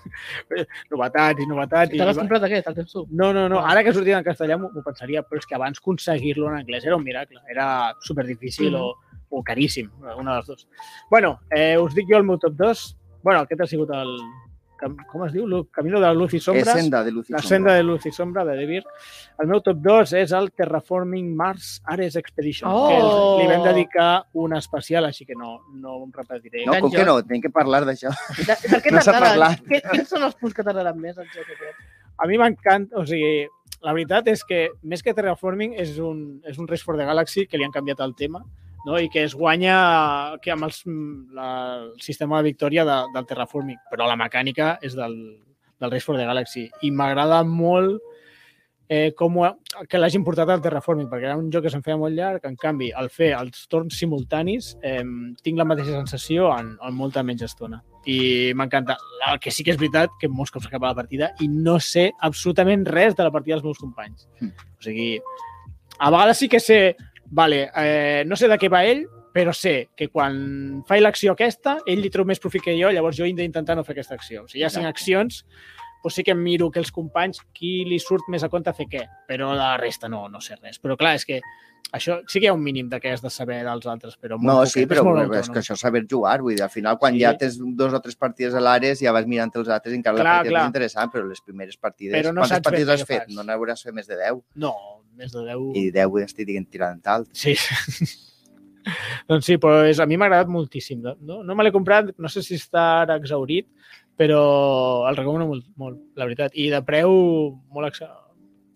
[SPEAKER 1] novetats i novetats.
[SPEAKER 2] Te
[SPEAKER 1] I...
[SPEAKER 2] l'has comprat Ah. aquest, el tens tu.
[SPEAKER 1] No, no, no. Ara que sortia en castellà m'ho m'ho pensaria, però és que abans aconseguir-lo en anglès era un miracle. Era superdifícil
[SPEAKER 2] Mhm.
[SPEAKER 1] o, o caríssim, una de les dues. bueno, eh, us dic jo el meu top 2. bueno, aquest ha sigut el... Cam- Com es diu? Lu- Camino de la Luz i
[SPEAKER 3] És
[SPEAKER 1] Sombras.
[SPEAKER 3] Senda de Luz i
[SPEAKER 1] La
[SPEAKER 3] Sombra.
[SPEAKER 1] senda de luz i sombra de Devir. El meu top 2 és el Terraforming Mars Ares Expedition.
[SPEAKER 2] Oh!
[SPEAKER 1] Que li vam dedicar un especial, així que no, no em repetiré.
[SPEAKER 3] No, com
[SPEAKER 2] Enganxós.
[SPEAKER 3] que no? Tenim que parlar d'això.
[SPEAKER 2] De, per què
[SPEAKER 3] No s'ha
[SPEAKER 2] tardaran?
[SPEAKER 3] parlat.
[SPEAKER 2] Què- Quins són els punts que tardaran més el joc aquest?
[SPEAKER 1] A mi m'encanta, o sigui, la veritat és que més que Terraforming és un, és un Race for the Galaxy que li han canviat el tema no? i que es guanya que amb els, mm, la, el sistema de victòria de, del Terraforming, però la mecànica és del, del Race for the Galaxy i m'agrada molt eh, com ho, ha- que l'hagin portat al Terraforming, perquè era un joc que se'n feia molt llarg, en canvi, al fer els torns simultanis, eh, tinc la mateixa sensació en, en molta menys estona. I m'encanta. El que sí que és veritat, que molts cops acaba la partida i no sé absolutament res de la partida dels meus companys.
[SPEAKER 3] Mm.
[SPEAKER 1] O sigui, a vegades sí que sé, vale, eh, no sé de què va ell, però sé que quan faig l'acció aquesta, ell li treu més profit que jo, llavors jo he d'intentar no fer aquesta acció. O sigui, hi ha cinc
[SPEAKER 3] Exacte.
[SPEAKER 1] accions, doncs sí que miro que els companys, qui li surt més a compte fer què, però la resta no, no sé res. Però clar, és que això sí que hi ha un mínim de què has de saber dels altres, però molt
[SPEAKER 3] No,
[SPEAKER 1] poquet,
[SPEAKER 3] sí, però
[SPEAKER 1] és molt
[SPEAKER 3] és,
[SPEAKER 1] autònom.
[SPEAKER 3] que això és saber jugar. Vull dir, al final, quan
[SPEAKER 1] Sí.
[SPEAKER 3] sí. ja tens dos o tres partides a l'Ares, ja vas mirant els altres, encara clar,
[SPEAKER 1] Clar,
[SPEAKER 3] la partida
[SPEAKER 1] clar.
[SPEAKER 3] és interessant, però les primeres partides...
[SPEAKER 1] Però no
[SPEAKER 3] quantes
[SPEAKER 1] saps ben
[SPEAKER 3] partides
[SPEAKER 1] bé
[SPEAKER 3] has
[SPEAKER 1] què
[SPEAKER 3] fet?
[SPEAKER 1] fas.
[SPEAKER 3] No n'hauràs fet més de 10.
[SPEAKER 1] No, més de 10...
[SPEAKER 3] I 10 vull estic dient tirant alt.
[SPEAKER 1] Sí. doncs sí, però és, a mi m'ha agradat moltíssim. No, no me l'he comprat, no sé si està ara exhaurit, però el recomano molt, molt, la veritat. I de preu molt exa...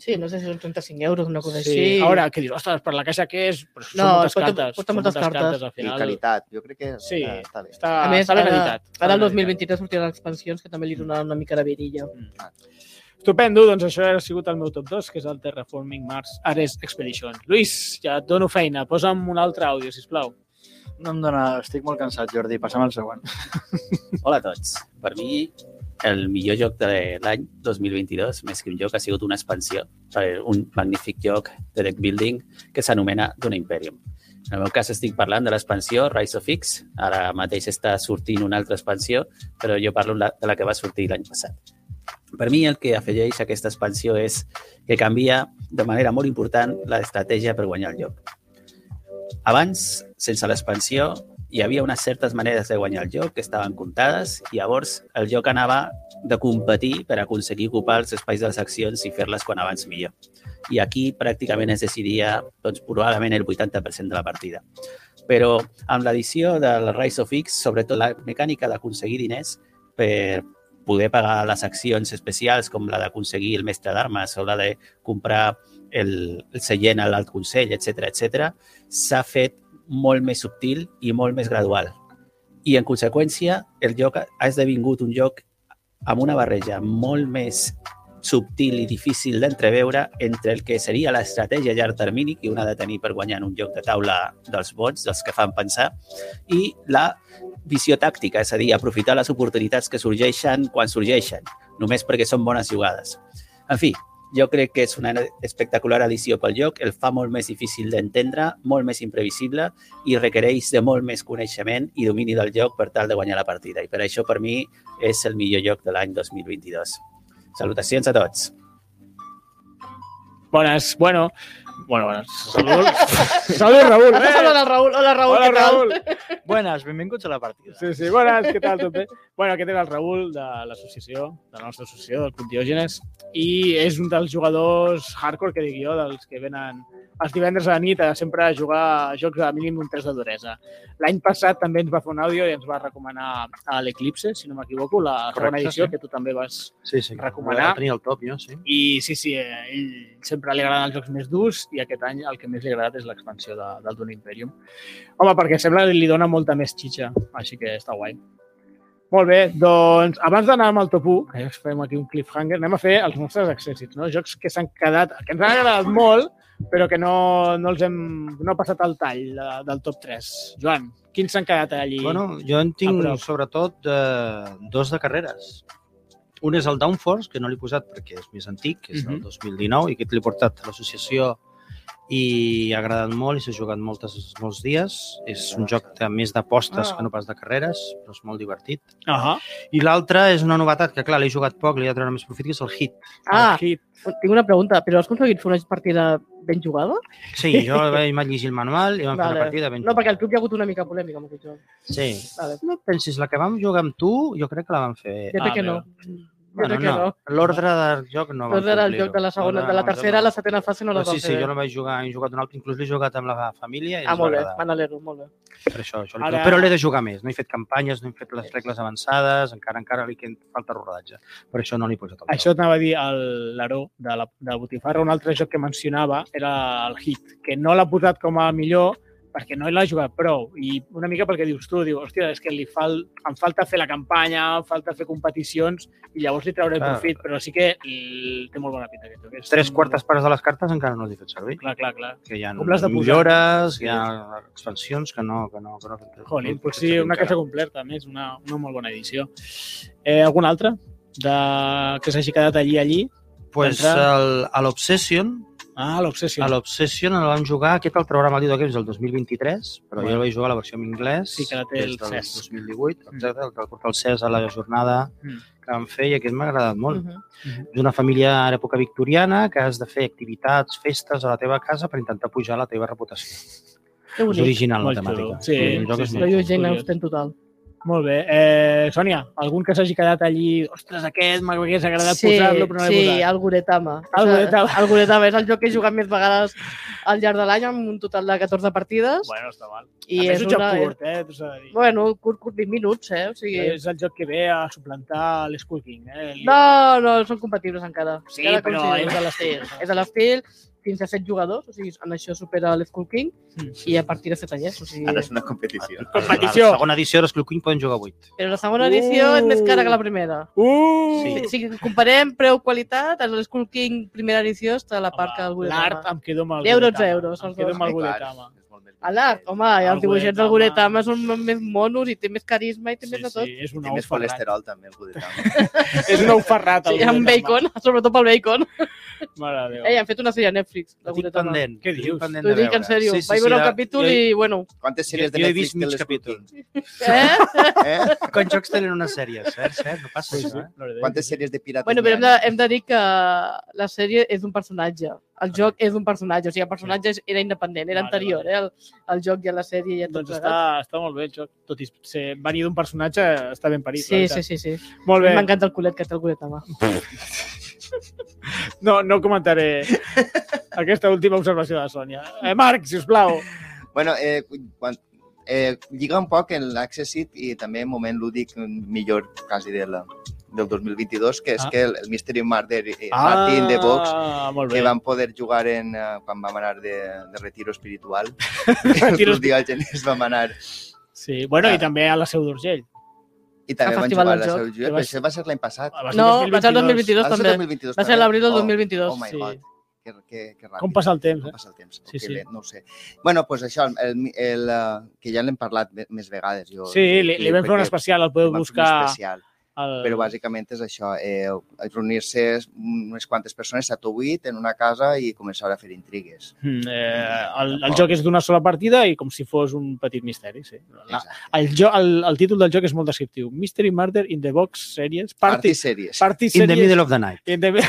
[SPEAKER 2] Sí, no sé si són 35 euros, una cosa
[SPEAKER 1] Sí.
[SPEAKER 2] així.
[SPEAKER 1] A veure, què dius? Ostres, per la caixa què és? Però són
[SPEAKER 2] No,
[SPEAKER 1] moltes
[SPEAKER 2] porta-
[SPEAKER 1] cartes.
[SPEAKER 2] porta
[SPEAKER 1] són
[SPEAKER 2] moltes cartes.
[SPEAKER 1] al
[SPEAKER 3] I
[SPEAKER 1] final.
[SPEAKER 3] qualitat. Jo crec que
[SPEAKER 1] Sí.
[SPEAKER 3] està, està bé.
[SPEAKER 1] Està,
[SPEAKER 2] a
[SPEAKER 1] Ah,
[SPEAKER 2] més,
[SPEAKER 1] està ben
[SPEAKER 2] ara,
[SPEAKER 1] editat. Està
[SPEAKER 2] ara el
[SPEAKER 1] ben
[SPEAKER 2] 2023 sortiran les expansions que també li donaran una mica de virilla.
[SPEAKER 1] editat. Estupendo, doncs això ha sigut el meu top 2, que és el Terraforming Mars Ares Expedition. Luis, ja et dono feina, posa'm un altre àudio, sisplau.
[SPEAKER 6] No em dona... Estic molt cansat, Jordi. Passa'm al següent.
[SPEAKER 7] Hola a tots. Per mi, el millor joc de l'any 2022, més que un joc, ha sigut una expansió per un magnífic joc de deck building que s'anomena Duna Imperium. En el meu cas estic parlant de l'expansió Rise of X. Ara mateix està sortint una altra expansió, però jo parlo la- de la que va sortir l'any passat. Per mi el que afegeix aquesta expansió és que canvia de manera molt important l'estratègia per guanyar el joc. Abans, sense l'expansió, hi havia unes certes maneres de guanyar el joc que estaven comptades i llavors el joc anava de competir per aconseguir ocupar els espais de les accions i fer-les quan abans millor. I aquí pràcticament es decidia doncs, probablement el 80% de la partida. Però amb l'edició del Rise of X, sobretot la mecànica d'aconseguir diners per poder pagar les accions especials com la d'aconseguir el mestre d'armes o la de comprar el, el seient a l'alt consell, etc etc, s'ha fet molt més subtil i molt més gradual. I, en conseqüència, el joc ha esdevingut un joc amb una barreja molt més subtil i difícil d'entreveure entre el que seria l'estratègia a llarg termini que un ha de tenir per guanyar en un joc de taula dels bons, dels que fan pensar, i la visió tàctica, és a dir, aprofitar les oportunitats que sorgeixen quan sorgeixen, només perquè són bones jugades. En fi, jo crec que és una espectacular edició pel joc, el fa molt més difícil d'entendre, molt més imprevisible i requereix de molt més coneixement i domini del joc per tal de guanyar la partida. I per això, per mi, és el millor joc de l'any 2022. Salutacions a tots!
[SPEAKER 1] Bones, bueno. Bueno, bones. Salut. Salut, Raül.
[SPEAKER 2] Està saludant el Raül. Hola, Raül,
[SPEAKER 1] Hola,
[SPEAKER 2] què tal?
[SPEAKER 1] Raül.
[SPEAKER 6] Buenas, benvinguts a la partida.
[SPEAKER 1] Sí, sí, bones, què tal, tot bé? Bueno, aquest era el Raül de l'associació, de la nostra associació, del Club Diògenes, i és un dels jugadors hardcore, que dic jo, dels que venen els divendres a la nit a sempre a jugar a jocs de mínim un 3 de duresa. L'any passat també ens va fer un àudio i ens va recomanar a l'Eclipse, si no m'equivoco, la
[SPEAKER 4] Correcte,
[SPEAKER 1] segona edició,
[SPEAKER 4] sí.
[SPEAKER 1] que tu també vas...
[SPEAKER 4] Sí, sí.
[SPEAKER 1] Recomanar.
[SPEAKER 4] Tenia el top, jo, sí.
[SPEAKER 1] I sí, sí, eh, ell sempre li agraden els jocs més durs i aquest any el que més li ha agradat és l'expansió de, del Dune Imperium. Home, perquè sembla que li dona molta més xitxa, així que està guai. Molt bé, doncs abans d'anar amb el top 1, que ja fem aquí un cliffhanger, anem a fer els nostres accèssits, no? Jocs que s'han quedat, que ens han agradat molt, però que no, no els hem... no ha passat el tall de, del top 3. Joan, quins s'han quedat allí?
[SPEAKER 4] Bueno, jo en tinc,
[SPEAKER 1] A prop.
[SPEAKER 4] sobretot, eh, dos de carreres. Un és el Downforce, que no l'he posat perquè és més antic, és del
[SPEAKER 1] Mhm.
[SPEAKER 4] 2019, i aquest l'he portat a l'associació i ha agradat molt i s'ha jugat moltes, molts dies. És un joc de més d'apostes
[SPEAKER 1] Ah.
[SPEAKER 4] que no pas de carreres, però és molt divertit.
[SPEAKER 1] uh -huh.
[SPEAKER 4] I l'altre és una novetat, que clar, l'he jugat poc, li he de treure més profit, que és el Hit.
[SPEAKER 2] Ah, tinc una pregunta, però has aconseguit fer una partida ben jugada?
[SPEAKER 4] Sí, jo vaig vaig llegir el manual i vam fer una partida ben
[SPEAKER 2] No, perquè al club hi ha hagut una mica polèmica amb aquest joc.
[SPEAKER 4] Sí.
[SPEAKER 2] Vale.
[SPEAKER 4] No et pensis, la que vam jugar amb tu, jo crec que la vam fer...
[SPEAKER 2] Jo crec que no.
[SPEAKER 4] Ah, Bueno,
[SPEAKER 2] crec que
[SPEAKER 4] no, l'ordre del joc no vam
[SPEAKER 2] Doncs era el
[SPEAKER 4] complir-ho.
[SPEAKER 2] joc de la segona,
[SPEAKER 4] L'ordre
[SPEAKER 2] de la
[SPEAKER 4] no ens
[SPEAKER 2] tercera,
[SPEAKER 4] va-
[SPEAKER 2] la setena fase no la
[SPEAKER 4] No,
[SPEAKER 2] vam
[SPEAKER 4] sí, sí,
[SPEAKER 2] fer.
[SPEAKER 4] jo no vaig jugar, he jugat un altre, inclús l'he jugat amb la família i
[SPEAKER 2] Ah,
[SPEAKER 4] ens va
[SPEAKER 2] molt bé,
[SPEAKER 4] agradar.
[SPEAKER 2] me n'alegro, molt bé.
[SPEAKER 4] Per això, això li...
[SPEAKER 1] Ara-
[SPEAKER 4] Però l'he de jugar més, no he fet campanyes, no he fet les regles avançades, encara encara li queda- falta rodatge. Per això no l'he posat al
[SPEAKER 1] Això t'anava a dir el- l'Aró de la, de la Botifarra. Un altre joc que mencionava era el Hit, que no l'ha posat com a millor perquè no l'ha jugat prou. I una mica perquè dius tu, dius, hòstia, és que li fal... em falta fer la campanya, em falta fer competicions i llavors li trauré
[SPEAKER 4] Clar.
[SPEAKER 1] profit, però sí que mm, té molt bona pinta aquest joc. És
[SPEAKER 4] Tres
[SPEAKER 1] un-
[SPEAKER 4] quartes parts de les cartes encara no les he fet servir.
[SPEAKER 1] Clar, clar, clar.
[SPEAKER 4] que hi ha
[SPEAKER 1] Com l'has de posar?
[SPEAKER 4] millores, hi ha expansions que no... Que no, que no
[SPEAKER 1] Jolín,
[SPEAKER 4] que
[SPEAKER 1] pues
[SPEAKER 4] no-
[SPEAKER 1] sí, una
[SPEAKER 4] encara.
[SPEAKER 1] caixa completa, a més, una, una molt bona edició. Eh, algun altre de... que s'hagi quedat allí, allí?
[SPEAKER 4] Pues
[SPEAKER 1] d'entrada.
[SPEAKER 4] el, a l'Obsession,
[SPEAKER 1] Ah, l'Obsession.
[SPEAKER 4] a l'Obsession el vam jugar, aquest el programa diu que és del 2023, però
[SPEAKER 1] Bueno.
[SPEAKER 4] jo el vaig jugar a la versió en anglès,
[SPEAKER 1] Sí, que la té
[SPEAKER 4] des
[SPEAKER 1] el
[SPEAKER 4] del
[SPEAKER 1] Cesc.
[SPEAKER 4] 2018, exacte, el que el porta el CES a la jornada
[SPEAKER 1] Mm.
[SPEAKER 4] que vam fer i aquest m'ha agradat molt.
[SPEAKER 2] Mhm.
[SPEAKER 4] És una família ara època victoriana que has de fer activitats, festes a la teva casa per intentar pujar la teva reputació.
[SPEAKER 2] Que
[SPEAKER 4] És
[SPEAKER 2] bonic.
[SPEAKER 4] original
[SPEAKER 1] Molt
[SPEAKER 4] la temàtica.
[SPEAKER 1] xulo. Sí,
[SPEAKER 4] el joc
[SPEAKER 1] sí,
[SPEAKER 4] és
[SPEAKER 1] sí.
[SPEAKER 4] molt
[SPEAKER 2] Jo
[SPEAKER 4] xulo.
[SPEAKER 2] jo gent
[SPEAKER 1] Curiós.
[SPEAKER 2] en total.
[SPEAKER 1] Molt bé. Eh, Sònia, algun que s'hagi quedat allí... Ostres, aquest m'hagués agradat sí, posar-lo, però no l'he
[SPEAKER 2] sí,
[SPEAKER 1] posat.
[SPEAKER 2] el Guretama.
[SPEAKER 1] El Guretama.
[SPEAKER 2] El Guretama és el joc que he jugat més vegades al llarg de l'any, amb un total de 14 partides.
[SPEAKER 1] Bueno, està mal. I
[SPEAKER 2] I
[SPEAKER 1] a més,
[SPEAKER 2] és
[SPEAKER 1] un joc
[SPEAKER 2] una...
[SPEAKER 1] curt, eh? T'ho s'ha de dir.
[SPEAKER 2] Bueno, curt, curt, 20 minuts, eh? O sigui...
[SPEAKER 1] És el joc que ve a suplantar l'Skull King, eh? El-
[SPEAKER 2] No, no, són compatibles encara.
[SPEAKER 1] Sí,
[SPEAKER 2] Encara
[SPEAKER 1] però
[SPEAKER 2] considero-
[SPEAKER 1] és de l'estil.
[SPEAKER 2] Sí, És de l'estil, fins a 7 jugadors, o sigui, en això supera l'Skull King,
[SPEAKER 1] Mm.
[SPEAKER 2] i a partir de 7 anyets. O sigui...
[SPEAKER 6] Ara és una competició.
[SPEAKER 1] Competició.
[SPEAKER 4] A La segona edició, les Club Queen poden jugar 8.
[SPEAKER 2] Però la segona edició
[SPEAKER 1] Uh.
[SPEAKER 2] és més cara que la primera.
[SPEAKER 1] Uh!
[SPEAKER 2] Sí. Si comparem preu-qualitat, l'Skull King primera edició està a la part que el
[SPEAKER 1] L'art
[SPEAKER 2] Guretama.
[SPEAKER 1] em quedo amb el
[SPEAKER 2] 10, 12
[SPEAKER 1] Guretama.
[SPEAKER 2] euros,
[SPEAKER 1] Em
[SPEAKER 2] els
[SPEAKER 1] quedo
[SPEAKER 2] dos.
[SPEAKER 1] amb el
[SPEAKER 3] Clar,
[SPEAKER 1] Guretama.
[SPEAKER 3] és molt més
[SPEAKER 2] A l'art, home, i
[SPEAKER 1] El
[SPEAKER 2] els dibuixets del
[SPEAKER 1] Guretama.
[SPEAKER 2] Guretama són més monos i té més carisma i té
[SPEAKER 1] Sí,
[SPEAKER 2] més de tot.
[SPEAKER 1] sí, és un
[SPEAKER 6] Té
[SPEAKER 1] ou
[SPEAKER 6] més
[SPEAKER 1] ferrat.
[SPEAKER 6] colesterol, també, el Gudetama.
[SPEAKER 1] És un ou ferrat, el
[SPEAKER 2] Sí, amb
[SPEAKER 1] Guretama.
[SPEAKER 2] bacon, sobretot pel bacon.
[SPEAKER 1] Mare de Déu.
[SPEAKER 2] Ei, han fet una sèrie a Netflix, la
[SPEAKER 4] La tinc
[SPEAKER 2] Guretama.
[SPEAKER 4] pendent.
[SPEAKER 1] Què
[SPEAKER 4] la tinc
[SPEAKER 1] dius?
[SPEAKER 4] pendent
[SPEAKER 2] T'ho
[SPEAKER 4] de
[SPEAKER 2] dic en
[SPEAKER 4] veure.
[SPEAKER 2] sèrio, vaig veure un
[SPEAKER 4] la-
[SPEAKER 2] capítol
[SPEAKER 4] jo-
[SPEAKER 2] i, bueno,
[SPEAKER 3] Quantes
[SPEAKER 4] Jo,
[SPEAKER 3] sèries de
[SPEAKER 4] jo he
[SPEAKER 3] Netflix
[SPEAKER 4] vist
[SPEAKER 3] té
[SPEAKER 4] mig
[SPEAKER 3] les
[SPEAKER 4] capítol.
[SPEAKER 2] eh?
[SPEAKER 3] Eh?
[SPEAKER 4] Quan jocs tenen una sèrie, cert, cert? No passa
[SPEAKER 1] Ah, Sí, sí.
[SPEAKER 4] això, eh?
[SPEAKER 1] Mare de Déu.
[SPEAKER 3] Quantes sèries de pirates
[SPEAKER 2] Bueno, però hem
[SPEAKER 3] hi ha?
[SPEAKER 2] de, hem de dir que la sèrie és un personatge. El joc és un personatge, o sigui, el personatge és- era independent, era
[SPEAKER 1] Vale,
[SPEAKER 2] anterior, eh? El, el joc i a la sèrie i a tot
[SPEAKER 1] Doncs està,
[SPEAKER 2] plegat.
[SPEAKER 1] està molt bé el joc. Tot i ser, venir d'un personatge, està ben parit. la
[SPEAKER 2] Sí, sí,
[SPEAKER 1] veritat.
[SPEAKER 2] sí, sí.
[SPEAKER 1] Molt bé.
[SPEAKER 2] M'encanta el culet que té el culet home.
[SPEAKER 1] No, no comentaré aquesta última observació de la Sònia. Eh, Marc, si us plau.
[SPEAKER 3] Bueno, eh, quan, eh, lliga un poc en l'Accessit i també en moment lúdic millor quasi de la, del 2022, que és
[SPEAKER 1] Ah.
[SPEAKER 3] que el, el Mystery Murder i ah. Martin de Vox
[SPEAKER 1] molt
[SPEAKER 3] que
[SPEAKER 1] bé.
[SPEAKER 3] vam poder jugar en, eh, quan vam anar de, de retiro espiritual.
[SPEAKER 1] Retiro
[SPEAKER 3] Els diògenes vam anar.
[SPEAKER 1] Sí, bueno, i
[SPEAKER 3] Ah.
[SPEAKER 1] també a la Seu d'Urgell.
[SPEAKER 3] I també
[SPEAKER 2] Al
[SPEAKER 3] vam
[SPEAKER 2] Festival
[SPEAKER 3] jugar a
[SPEAKER 2] del
[SPEAKER 3] la
[SPEAKER 2] Joc.
[SPEAKER 3] Seu Josep,
[SPEAKER 1] Que
[SPEAKER 3] però
[SPEAKER 1] vas-
[SPEAKER 3] això va ser l'any passat.
[SPEAKER 1] Va ser
[SPEAKER 2] No, va ser el 2022
[SPEAKER 3] Va ser el
[SPEAKER 2] també.
[SPEAKER 3] 2022
[SPEAKER 2] Va ser
[SPEAKER 3] també?
[SPEAKER 2] l'abril del
[SPEAKER 3] Oh,
[SPEAKER 2] 2022.
[SPEAKER 3] Oh my
[SPEAKER 1] sí.
[SPEAKER 3] god, que, que, que ràpid.
[SPEAKER 1] Com passa el temps,
[SPEAKER 3] Com
[SPEAKER 1] eh?
[SPEAKER 3] passa el temps?
[SPEAKER 1] Sí,
[SPEAKER 3] Sí,
[SPEAKER 1] sí.
[SPEAKER 3] sí. No ho sé. bueno, doncs això, el, el, eh, que ja l'hem parlat me- més vegades. Jo,
[SPEAKER 1] Sí, li, li vam fer un
[SPEAKER 3] perquè
[SPEAKER 1] especial, el podeu
[SPEAKER 3] vam fer un
[SPEAKER 1] buscar.
[SPEAKER 3] especial,
[SPEAKER 1] Al...
[SPEAKER 3] però bàsicament és això, eh, reunir-se unes quantes persones, 7 o 8, en una casa i començar a fer intrigues.
[SPEAKER 1] Mm, eh, el, el joc és d'una sola partida i com si fos un petit misteri, sí. La,
[SPEAKER 3] Exacte.
[SPEAKER 1] el, jo, el, el títol del joc és molt descriptiu. Mystery Murder in the Box Series. Party,
[SPEAKER 3] Party sèries.
[SPEAKER 1] party
[SPEAKER 4] In the
[SPEAKER 1] Series.
[SPEAKER 4] middle of the night.
[SPEAKER 1] In the middle.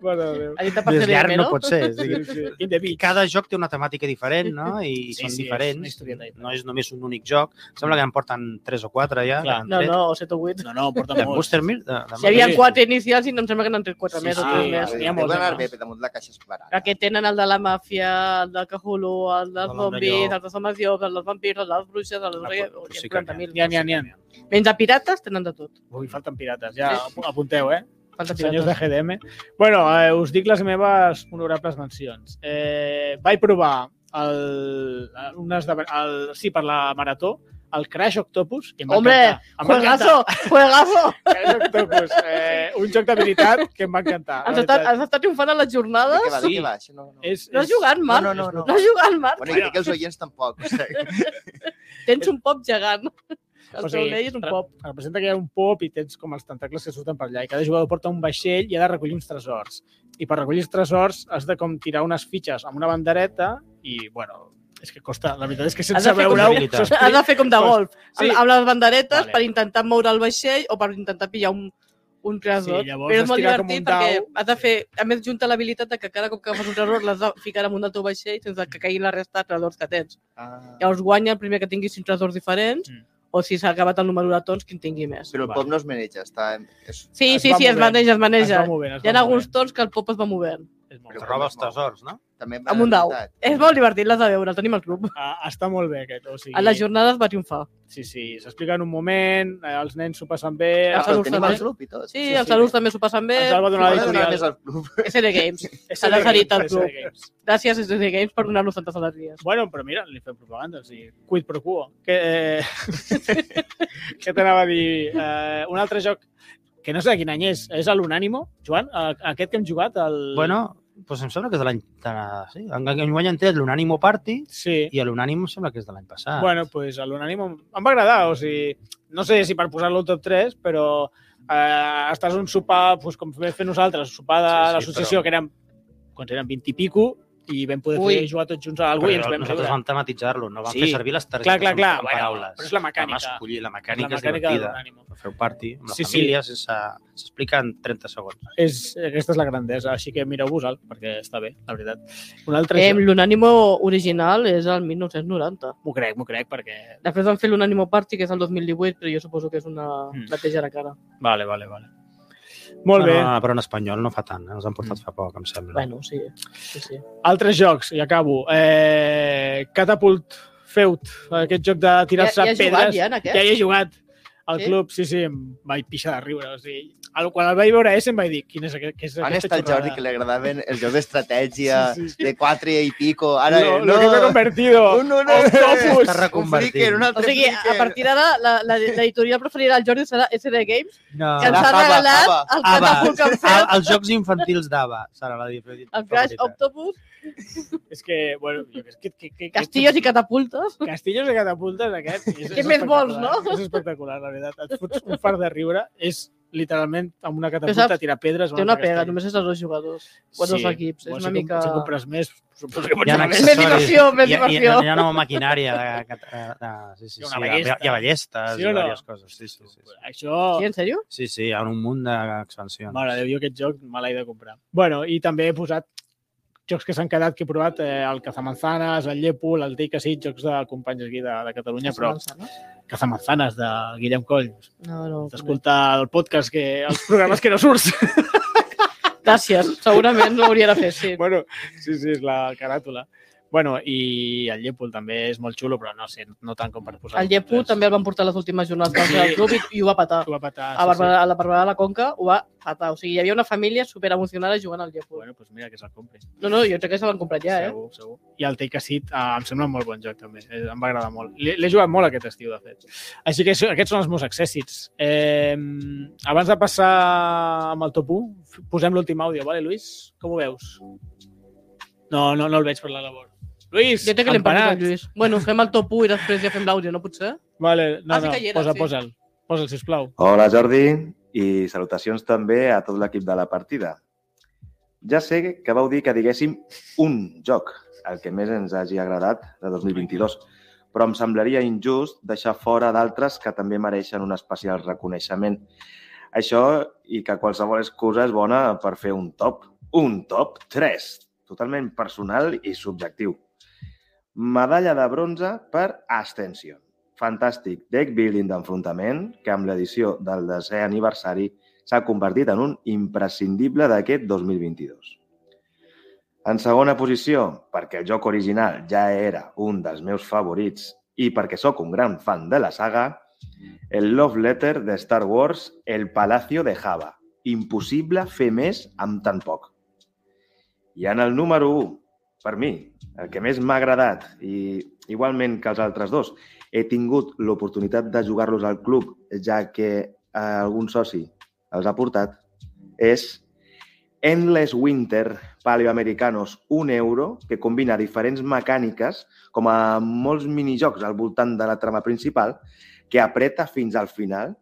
[SPEAKER 1] Mare de Déu.
[SPEAKER 2] Ha dit per
[SPEAKER 4] Més
[SPEAKER 2] ser
[SPEAKER 4] llarg
[SPEAKER 2] no?
[SPEAKER 4] no pot ser. És a dir,
[SPEAKER 1] Sí, sí. In the
[SPEAKER 4] I
[SPEAKER 1] beach.
[SPEAKER 4] cada joc té una temàtica diferent, no? I
[SPEAKER 1] Sí,
[SPEAKER 4] són
[SPEAKER 1] sí, és una
[SPEAKER 4] diferents.
[SPEAKER 1] historieta diferent.
[SPEAKER 4] No és només un únic joc. Sembla que en porten tres o 4 ja.
[SPEAKER 8] Clar.
[SPEAKER 4] que
[SPEAKER 2] No,
[SPEAKER 4] han tret.
[SPEAKER 2] no, o 7 o 8.
[SPEAKER 8] No, no, porta
[SPEAKER 4] De
[SPEAKER 8] molts.
[SPEAKER 4] Booster Mir? De, de
[SPEAKER 2] Si hi havia
[SPEAKER 8] sí, sí.
[SPEAKER 2] 4 inicials i no em sembla que n'han tret 4
[SPEAKER 8] Sí,
[SPEAKER 2] més o
[SPEAKER 3] Ah,
[SPEAKER 8] sí,
[SPEAKER 2] 3
[SPEAKER 8] sí.
[SPEAKER 2] més.
[SPEAKER 1] Hi ha
[SPEAKER 3] Deu
[SPEAKER 1] molts, eh?
[SPEAKER 3] anar
[SPEAKER 1] no?
[SPEAKER 3] bé, però damunt la caixa és clara.
[SPEAKER 2] que tenen el de la màfia, el del Cthulhu, el dels
[SPEAKER 4] El del
[SPEAKER 2] zombis,
[SPEAKER 4] llop.
[SPEAKER 2] el dels homes llops, el dels vampirs, el dels bruixes, el
[SPEAKER 4] Ah,
[SPEAKER 2] dels
[SPEAKER 4] però- però sí que n'hi ha.
[SPEAKER 2] 40.000.
[SPEAKER 1] N'hi ha, n'hi ha, n'hi ha.
[SPEAKER 2] Menys de pirates, tenen de tot.
[SPEAKER 1] Ui, falten pirates, ja, apu- apunteu, eh?
[SPEAKER 2] Falta
[SPEAKER 1] Senyors
[SPEAKER 2] pirates.
[SPEAKER 1] de GDM. Bueno, eh, us dic les meves honorables mencions. Eh, vaig provar el, eh, un esdeven- el, sí, per la marató, el Crash Octopus, que em va
[SPEAKER 2] Hombre,
[SPEAKER 1] encantar. Em va
[SPEAKER 2] Juegazo! Juegazo!
[SPEAKER 1] Crash Octopus, eh, un joc d'habilitat que em va encantar. la
[SPEAKER 2] Has estat,
[SPEAKER 1] veritat.
[SPEAKER 2] has estat triomfant a les
[SPEAKER 3] De
[SPEAKER 2] jornades?
[SPEAKER 3] què va, de què va? Això no, no.
[SPEAKER 1] És,
[SPEAKER 2] No has jugat, Marc?
[SPEAKER 3] No, no, no, no.
[SPEAKER 2] No has jugat, Marc?
[SPEAKER 3] Bueno, i crec que els oients tampoc. O sigui,
[SPEAKER 2] Tens un pop gegant. El
[SPEAKER 1] O
[SPEAKER 2] teu
[SPEAKER 1] sigui,
[SPEAKER 2] ney és un
[SPEAKER 1] re-
[SPEAKER 2] pop.
[SPEAKER 1] Representa que hi ha un pop i tens com els tentacles que surten per allà i cada jugador porta un vaixell i ha de recollir uns tresors. I per recollir els tresors has de com tirar unes fitxes amb una bandereta i, bueno, és que costa... La veritat és que
[SPEAKER 2] Has de
[SPEAKER 1] sense
[SPEAKER 2] fer
[SPEAKER 1] veure-ho...
[SPEAKER 4] comptabilitat.
[SPEAKER 1] s'ho
[SPEAKER 2] Has de fer com de
[SPEAKER 1] Pues,
[SPEAKER 2] golf.
[SPEAKER 1] sí.
[SPEAKER 2] Sí. Amb les banderetes
[SPEAKER 1] Vale.
[SPEAKER 2] vale. per intentar moure el vaixell o per intentar pillar un, un tresor.
[SPEAKER 1] Sí,
[SPEAKER 2] Sí,
[SPEAKER 1] llavors
[SPEAKER 2] Però és
[SPEAKER 1] has
[SPEAKER 2] molt
[SPEAKER 1] tirat com un
[SPEAKER 2] divertit perquè
[SPEAKER 1] dau.
[SPEAKER 2] has de fer... A més, junta l'habilitat de que cada cop que fas un tresor l'has de ficar amunt del teu vaixell sense que caiguin la resta de tresors que tens.
[SPEAKER 3] ah,
[SPEAKER 2] Llavors guanya el primer que tingui cinc tresors diferents
[SPEAKER 1] Mm.
[SPEAKER 2] mm. o si s'ha acabat el número de tons, qui en tingui més.
[SPEAKER 3] però el pop no es maneja, està... És,
[SPEAKER 2] Sí,
[SPEAKER 1] Es
[SPEAKER 2] sí,
[SPEAKER 1] va
[SPEAKER 2] sí, es
[SPEAKER 1] movent.
[SPEAKER 2] maneja, es maneja.
[SPEAKER 1] va movent, es
[SPEAKER 2] Hi ha
[SPEAKER 1] va
[SPEAKER 2] alguns
[SPEAKER 1] movent.
[SPEAKER 2] tons que el pop es va movent.
[SPEAKER 1] És molt
[SPEAKER 3] Però
[SPEAKER 1] bé.
[SPEAKER 4] Roba els tresors, no?
[SPEAKER 3] també va
[SPEAKER 2] Amb un dau.
[SPEAKER 3] adaptat.
[SPEAKER 2] És molt divertit, l'has de veure, el tenim al club.
[SPEAKER 1] Ah, està molt bé aquest. O sigui,
[SPEAKER 2] A les jornades va triomfar.
[SPEAKER 1] Sí, sí, s'explica en un moment, eh, els nens s'ho passen bé...
[SPEAKER 3] Ah,
[SPEAKER 2] Els
[SPEAKER 3] però
[SPEAKER 2] adults
[SPEAKER 3] el tenim
[SPEAKER 2] també.
[SPEAKER 3] al club i tot.
[SPEAKER 2] Sí, sí els alumnes també s'ho passen bé.
[SPEAKER 1] Ens el va donar
[SPEAKER 3] M'ha de donar
[SPEAKER 1] l'editorial.
[SPEAKER 3] més al club.
[SPEAKER 2] SL Games.
[SPEAKER 1] SD
[SPEAKER 2] l'ha cedit al
[SPEAKER 1] Games,
[SPEAKER 2] club.
[SPEAKER 1] SD Games.
[SPEAKER 2] Gràcies, SL Games, per donar-nos tantes alegries.
[SPEAKER 1] Bueno, però mira, li fem propaganda, o sigui, quid pro quo. Que, eh... Què t'anava a dir? Eh, un altre joc que no sé de quin any és, és l'Unànimo, Joan? A- Aquest que hem jugat, el...
[SPEAKER 4] Bueno, doncs em sembla que és de l'any... de- Sí, enguany han tret l'Unànimo Party
[SPEAKER 1] Sí.
[SPEAKER 4] i l'Unànimo em sembla que és de l'any passat.
[SPEAKER 1] Bueno, doncs pues, l'Unànimo em va agradar, o sigui, no sé si per posar-lo al top 3, però eh, estàs un sopar, pues, com vam fer nosaltres, un sopar de
[SPEAKER 4] Sí, sí,
[SPEAKER 1] l'associació,
[SPEAKER 4] però-
[SPEAKER 1] que érem, quan eren 20 i pico, i vam poder
[SPEAKER 2] Ui.
[SPEAKER 1] fer jugar tots junts a alguna cosa i ens
[SPEAKER 4] Però
[SPEAKER 1] vam
[SPEAKER 4] nosaltres
[SPEAKER 1] riure.
[SPEAKER 4] vam tematitzar-lo, no vam
[SPEAKER 1] Sí.
[SPEAKER 4] fer servir les targetes
[SPEAKER 1] Clar, clar, clar.
[SPEAKER 4] amb
[SPEAKER 1] Bueno,
[SPEAKER 4] paraules.
[SPEAKER 1] però és la mecànica.
[SPEAKER 4] Vam escollir, la
[SPEAKER 1] És
[SPEAKER 4] mecànica,
[SPEAKER 1] la mecànica
[SPEAKER 4] és
[SPEAKER 1] de
[SPEAKER 4] divertida.
[SPEAKER 1] l'Unànimo.
[SPEAKER 4] Feu party amb la
[SPEAKER 1] Sí, sí.
[SPEAKER 4] família, sense... s'explica en 30 segons.
[SPEAKER 1] és, aquesta és la grandesa, així que mireu-vos-el, perquè està bé, la veritat. Un altre
[SPEAKER 2] Eh,
[SPEAKER 1] joc,
[SPEAKER 2] L'Unànimo original és el 1990.
[SPEAKER 1] m'ho crec, m'ho crec, perquè...
[SPEAKER 2] Després van fer l'Unànimo Party, que és el 2018, però jo suposo que és una
[SPEAKER 1] Mm.
[SPEAKER 2] neteja de cara.
[SPEAKER 1] Vale, vale, vale. Molt bé. Mm.
[SPEAKER 4] No, no, però en espanyol no fa tant, eh? ens han portat fa poc, em sembla.
[SPEAKER 2] Bueno, sí. sí, sí.
[SPEAKER 1] Altres jocs, i acabo. Eh, Catapult Feut, aquest joc de
[SPEAKER 2] Ja,
[SPEAKER 1] tirar-se
[SPEAKER 2] ja has
[SPEAKER 1] pedres.
[SPEAKER 2] jugat, ja, en aquest?
[SPEAKER 1] ja hi he jugat. Al
[SPEAKER 2] Sí?
[SPEAKER 1] club, sí, sí, em vaig pixar de riure. O sigui, el, quan el vaig veure ese em vaig dir quin és aquest, què és
[SPEAKER 3] On
[SPEAKER 1] aquesta
[SPEAKER 3] està el Jordi que li agradaven els jocs d'estratègia
[SPEAKER 1] Sí, sí, sí.
[SPEAKER 3] de 4 i pico? Ara,
[SPEAKER 1] Lo,
[SPEAKER 3] no,
[SPEAKER 1] lo que m'he convertido.
[SPEAKER 3] un, un,
[SPEAKER 1] Octopus.
[SPEAKER 4] Està
[SPEAKER 3] un, un
[SPEAKER 4] reconvertint.
[SPEAKER 3] flicker, un
[SPEAKER 2] O
[SPEAKER 3] altre
[SPEAKER 2] sigui, a
[SPEAKER 3] flicker.
[SPEAKER 2] partir d'ara, la- la- l'editorial preferida del Jordi serà SD Games,
[SPEAKER 4] No.
[SPEAKER 1] Ah.
[SPEAKER 2] que ens
[SPEAKER 3] Serà
[SPEAKER 2] ha
[SPEAKER 3] Ava,
[SPEAKER 2] regalat
[SPEAKER 3] Ava.
[SPEAKER 2] el
[SPEAKER 4] Ava.
[SPEAKER 2] Catapult que han
[SPEAKER 4] A,
[SPEAKER 2] fet,
[SPEAKER 4] els jocs infantils d'Ava, serà la diferència.
[SPEAKER 2] el Crash Octopus,
[SPEAKER 1] És que, bueno, jo, és que, que, que,
[SPEAKER 2] Castillos i Catapultes.
[SPEAKER 1] Castillos de catapultes, aquest. És,
[SPEAKER 2] Què més vols,
[SPEAKER 1] espectacular, eh?
[SPEAKER 2] no?
[SPEAKER 1] És espectacular, la veritat. Et fots un fart de riure. És literalment amb una catapulta
[SPEAKER 2] saps,
[SPEAKER 1] tirar pedres.
[SPEAKER 2] Té una pega, només és als dos jugadors, o als dos equips. És una mica...
[SPEAKER 1] Si compres més, suposo que pots
[SPEAKER 4] Hi ha
[SPEAKER 1] anar més.
[SPEAKER 2] Més diversió, més
[SPEAKER 4] Hi ha, hi ha,
[SPEAKER 2] diversió.
[SPEAKER 4] hi ha una maquinària de... de, de sí, sí,
[SPEAKER 1] Hi ha
[SPEAKER 4] sí,
[SPEAKER 1] una
[SPEAKER 4] hi ha-
[SPEAKER 1] ballesta.
[SPEAKER 4] hi ha ballestes
[SPEAKER 1] Sí
[SPEAKER 4] sí
[SPEAKER 1] o
[SPEAKER 4] i
[SPEAKER 1] no?
[SPEAKER 4] diverses coses. Sí, sí, sí. sí.
[SPEAKER 1] Això...
[SPEAKER 2] Sí, en sèrio?
[SPEAKER 4] Sí, sí, hi ha un munt d'expansions.
[SPEAKER 1] Mare de Déu, jo aquest joc me l'he de comprar. Bueno, i també he posat jocs que s'han quedat, que he provat, eh, el Cazamanzanes, el Llépol, el Take a Seat, jocs de companys aquí de, de Catalunya, però Cazamanzanes de Guillem Coll.
[SPEAKER 2] No, no. no.
[SPEAKER 1] T'escolta el podcast, que, els programes que no surts.
[SPEAKER 2] Gràcies, segurament ho hauria de fer, sí.
[SPEAKER 1] bueno, sí, sí, és la caràtula. Bueno, i el Llepul també és molt xulo, però no sé, no tant com per posar...
[SPEAKER 2] El Llepu també el van portar a les últimes jornades del
[SPEAKER 1] Sí.
[SPEAKER 2] doncs sí. club i, i ho va patar.
[SPEAKER 1] Ho va petar,
[SPEAKER 2] A, Barberà, a la Barberà de la Conca ho va patar. O sigui, hi havia una família superemocionada jugant al Llepu.
[SPEAKER 1] Bueno, doncs mira que se'l compri.
[SPEAKER 2] No, no, jo crec que se l'han comprat ja, eh?
[SPEAKER 1] Segur, segur. I el Take a Seat eh, em sembla un molt bon joc, també. Eh, Em va agradar molt. L'he l'he jugat molt aquest estiu, de fet. Així que això- aquests són els meus accèssits. Eh, abans de passar amb el top 1, posem l'últim àudio, vale, Luis? Com ho veus? No, no, no el veig per la labor. Luis,
[SPEAKER 2] Jo crec que l'hem perdut
[SPEAKER 1] empanat.
[SPEAKER 2] el Lluís. Bueno, fem el top 1 i després ja fem l'àudio, no potser?
[SPEAKER 1] Vale, no,
[SPEAKER 2] Ah, sí
[SPEAKER 1] no,
[SPEAKER 2] que hi era,
[SPEAKER 1] posa,
[SPEAKER 2] sí.
[SPEAKER 1] posa'l. Posa'l, sisplau.
[SPEAKER 9] Hola Jordi i salutacions també a tot l'equip de la partida. Ja sé que vau dir que diguéssim un joc, el que més ens hagi agradat de 2022, però em semblaria injust deixar fora d'altres que també mereixen un especial reconeixement. Això i que qualsevol excusa és bona per fer un top, un top 3, totalment personal i subjectiu. Medalla de bronze per Ascension, fantàstic deck building d'enfrontament que amb l'edició del desè aniversari s'ha convertit en un imprescindible d'aquest 2022. En segona posició, perquè el joc original ja era un dels meus favorits i perquè sóc un gran fan de la saga, el Love Letter de Star Wars, El Palacio de Java. Impossible fer més amb tan poc. I en el número 1, per mi, el que més m'ha agradat, i igualment que els altres dos, he tingut l'oportunitat de jugar-los al club, ja que eh, algun soci els ha portat, és Endless Winter Paleoamericanos, un euro, que combina diferents mecàniques, com a molts minijocs al voltant de la trama principal, que apreta fins al final,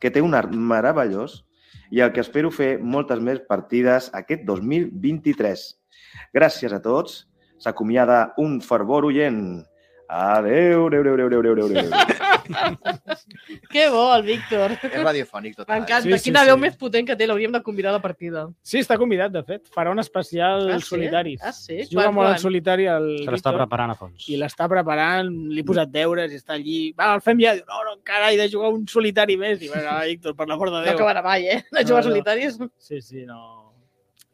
[SPEAKER 9] que té un art meravellós i el que espero fer moltes més partides aquest 2023. Gràcies a tots. S'acomiada un fervor oient. Adéu, adéu, adéu, adéu, adéu, adéu, adéu.
[SPEAKER 2] Que bo, el Víctor.
[SPEAKER 3] És radiofònic total.
[SPEAKER 2] M'encanta.
[SPEAKER 1] Sí,
[SPEAKER 2] Sí,
[SPEAKER 1] sí,
[SPEAKER 2] Quina veu
[SPEAKER 1] sí.
[SPEAKER 2] més potent que té. L'hauríem de convidar a la partida.
[SPEAKER 1] Sí, està convidat, de fet. Farà un especial
[SPEAKER 2] Ah, sí?
[SPEAKER 1] solitari.
[SPEAKER 2] Ah, sí?
[SPEAKER 1] Es juga
[SPEAKER 2] Quan,
[SPEAKER 1] molt
[SPEAKER 2] quan?
[SPEAKER 1] en solitari el
[SPEAKER 4] Se l'està
[SPEAKER 1] Víctor,
[SPEAKER 4] preparant a fons.
[SPEAKER 1] i l'està preparant, li he posat deures i està allí. Va, el fem ja. Diu, no, no, encara he de jugar un solitari més. Diu, bueno, va, "Ah, Víctor, per l'amor de
[SPEAKER 2] No
[SPEAKER 1] Déu.
[SPEAKER 2] acabarà mai, eh? De jugar
[SPEAKER 1] No, no.
[SPEAKER 2] solitaris.
[SPEAKER 1] Sí, sí, no...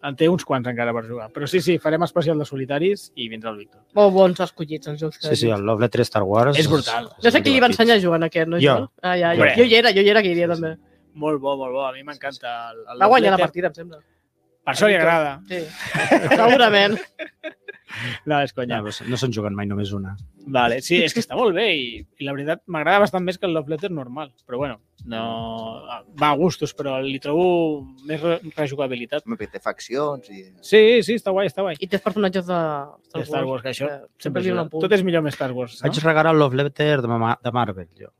[SPEAKER 1] En té uns quants encara per jugar. Però sí, sí, farem especial de solitaris i vindrà el Víctor.
[SPEAKER 2] Molt bons escollits els jocs. que
[SPEAKER 4] Sí, sí, el Love Letter Star Wars...
[SPEAKER 1] És brutal.
[SPEAKER 2] No sé qui li va
[SPEAKER 4] divertit.
[SPEAKER 2] ensenyar a jugar en aquest, no?
[SPEAKER 4] Jo.
[SPEAKER 2] Ah, ja, ja.
[SPEAKER 1] Hombre.
[SPEAKER 2] Jo hi era, jo hi era que hi havia també.
[SPEAKER 1] Molt bo, molt bo. A mi m'encanta. el- el
[SPEAKER 2] Va guanyar la
[SPEAKER 1] Letter.
[SPEAKER 2] partida, em sembla.
[SPEAKER 1] Per això li agrada.
[SPEAKER 2] Sí. Segurament.
[SPEAKER 1] No, és conya.
[SPEAKER 4] Ja, però no se'n juguen mai només una.
[SPEAKER 1] Vale, sí, és que està molt bé i, i la veritat m'agrada bastant més que el Love Letter normal, però bueno, no... va a gustos, però li trobo més re rejugabilitat.
[SPEAKER 3] Me pete faccions i...
[SPEAKER 1] Sí, sí, està guai, està guai.
[SPEAKER 2] I tens personatges de
[SPEAKER 1] De
[SPEAKER 2] Star Wars.
[SPEAKER 1] Star Wars, que això
[SPEAKER 2] Eh,
[SPEAKER 1] Sempre
[SPEAKER 2] li
[SPEAKER 1] ajuda.
[SPEAKER 2] donen punt.
[SPEAKER 1] Tot és millor amb Star Wars,
[SPEAKER 4] Vaig
[SPEAKER 1] no?
[SPEAKER 4] regalar el Love Letter de, ma de Marvel, jo.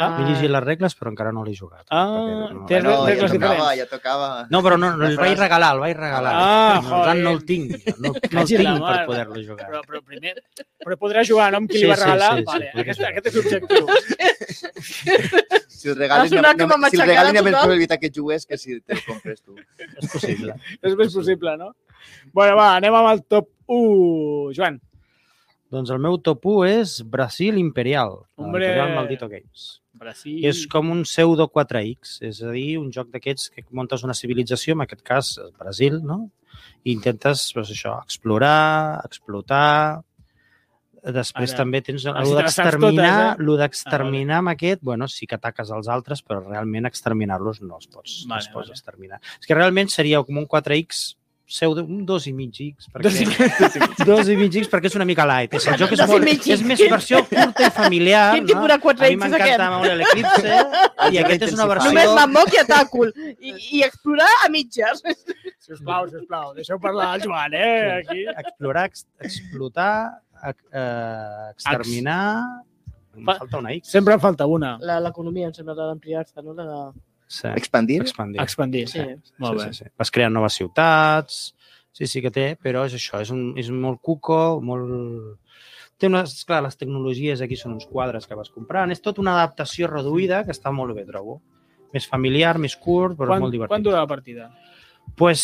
[SPEAKER 1] Ah.
[SPEAKER 4] M'he llegit les regles, però encara no l'he jugat.
[SPEAKER 1] Ah,
[SPEAKER 4] Perquè no-
[SPEAKER 1] té
[SPEAKER 3] Bueno,
[SPEAKER 1] regles
[SPEAKER 3] ja tocava,
[SPEAKER 1] diferents.
[SPEAKER 3] ja tocava.
[SPEAKER 4] No, però no, no el vaig regalar, el vaig regalar.
[SPEAKER 1] Ah,
[SPEAKER 4] no, per tant,
[SPEAKER 1] joder.
[SPEAKER 4] no el tinc, jo. no, no el
[SPEAKER 1] Vagi la
[SPEAKER 4] tinc per
[SPEAKER 1] mare.
[SPEAKER 4] poder-lo jugar.
[SPEAKER 1] Però, però primer... Però podrà jugar, no? Amb qui
[SPEAKER 4] Sí,
[SPEAKER 1] li va
[SPEAKER 4] sí,
[SPEAKER 1] regalar?
[SPEAKER 4] sí, sí,
[SPEAKER 1] vale,
[SPEAKER 4] podrà
[SPEAKER 1] aquest,
[SPEAKER 4] jugar.
[SPEAKER 1] aquest és l'objectiu.
[SPEAKER 3] Si el regalen,
[SPEAKER 2] Va sonar
[SPEAKER 3] hi ha- si
[SPEAKER 2] com a
[SPEAKER 3] el
[SPEAKER 2] matxacada
[SPEAKER 3] regalen hi ha més
[SPEAKER 2] total.
[SPEAKER 3] probabilitat que jugues que si te'l compres tu.
[SPEAKER 4] És possible.
[SPEAKER 1] és més possible, no? Bueno, va, anem amb el top 1, Joan.
[SPEAKER 4] Doncs el meu top 1 és Brasil Imperial.
[SPEAKER 1] Hombre.
[SPEAKER 4] Hombre. Imperial Maldito Games.
[SPEAKER 1] Brasil...
[SPEAKER 4] I és com un pseudo 4X, és a dir, un joc d'aquests que muntes una civilització, en aquest cas el Brasil, no? I intentes, doncs això, explorar, explotar... Després
[SPEAKER 1] Ara,
[SPEAKER 4] Ara, també tens
[SPEAKER 1] les
[SPEAKER 4] allò
[SPEAKER 1] interessants
[SPEAKER 4] d'exterminar,
[SPEAKER 1] totes,
[SPEAKER 4] eh? d'exterminar amb aquest, bueno, sí que ataques els altres, però realment exterminar-los no els pots, vale, no
[SPEAKER 1] Vale,
[SPEAKER 4] els pots
[SPEAKER 1] vale.
[SPEAKER 4] vale. exterminar. És que realment seria com un 4X pseudo, un 2 i mig X, perquè
[SPEAKER 1] Dos i
[SPEAKER 4] dos i mig X perquè és una mica light. És, el joc és,
[SPEAKER 2] Dos i
[SPEAKER 4] molt,
[SPEAKER 2] mig X.
[SPEAKER 4] és més versió curta i familiar.
[SPEAKER 2] Quin tipus de
[SPEAKER 4] no? A
[SPEAKER 2] 4X
[SPEAKER 4] mi
[SPEAKER 2] és aquest? Ah,
[SPEAKER 4] m'encanta molt l'Eclipse i aquest és una versió...
[SPEAKER 2] Només mamoc i atàcul. I, I explorar a mitges.
[SPEAKER 1] Sisplau, sisplau, deixeu parlar el Joan, eh? Aquí.
[SPEAKER 4] Explorar, ex, explotar, ex, eh, exterminar... Em
[SPEAKER 1] Fa-
[SPEAKER 4] falta una X.
[SPEAKER 1] Sempre en falta una.
[SPEAKER 2] La- L'economia, em sembla, la d'ampliar-se, no? La de...
[SPEAKER 4] Sí.
[SPEAKER 3] Expandir?
[SPEAKER 4] Expandir.
[SPEAKER 1] Expandir.
[SPEAKER 2] Sí.
[SPEAKER 1] Molt
[SPEAKER 4] sí,
[SPEAKER 1] bé.
[SPEAKER 4] sí, sí. Vas creant noves ciutats... Sí, sí que té, però és això, és, un, és molt cuco, molt... Té unes, clar, les tecnologies aquí són uns quadres que vas comprant. És tot una adaptació reduïda que està molt bé, trobo. Més familiar, més curt, però
[SPEAKER 1] Quan,
[SPEAKER 4] és molt divertit.
[SPEAKER 1] quan dura la partida?
[SPEAKER 4] pues,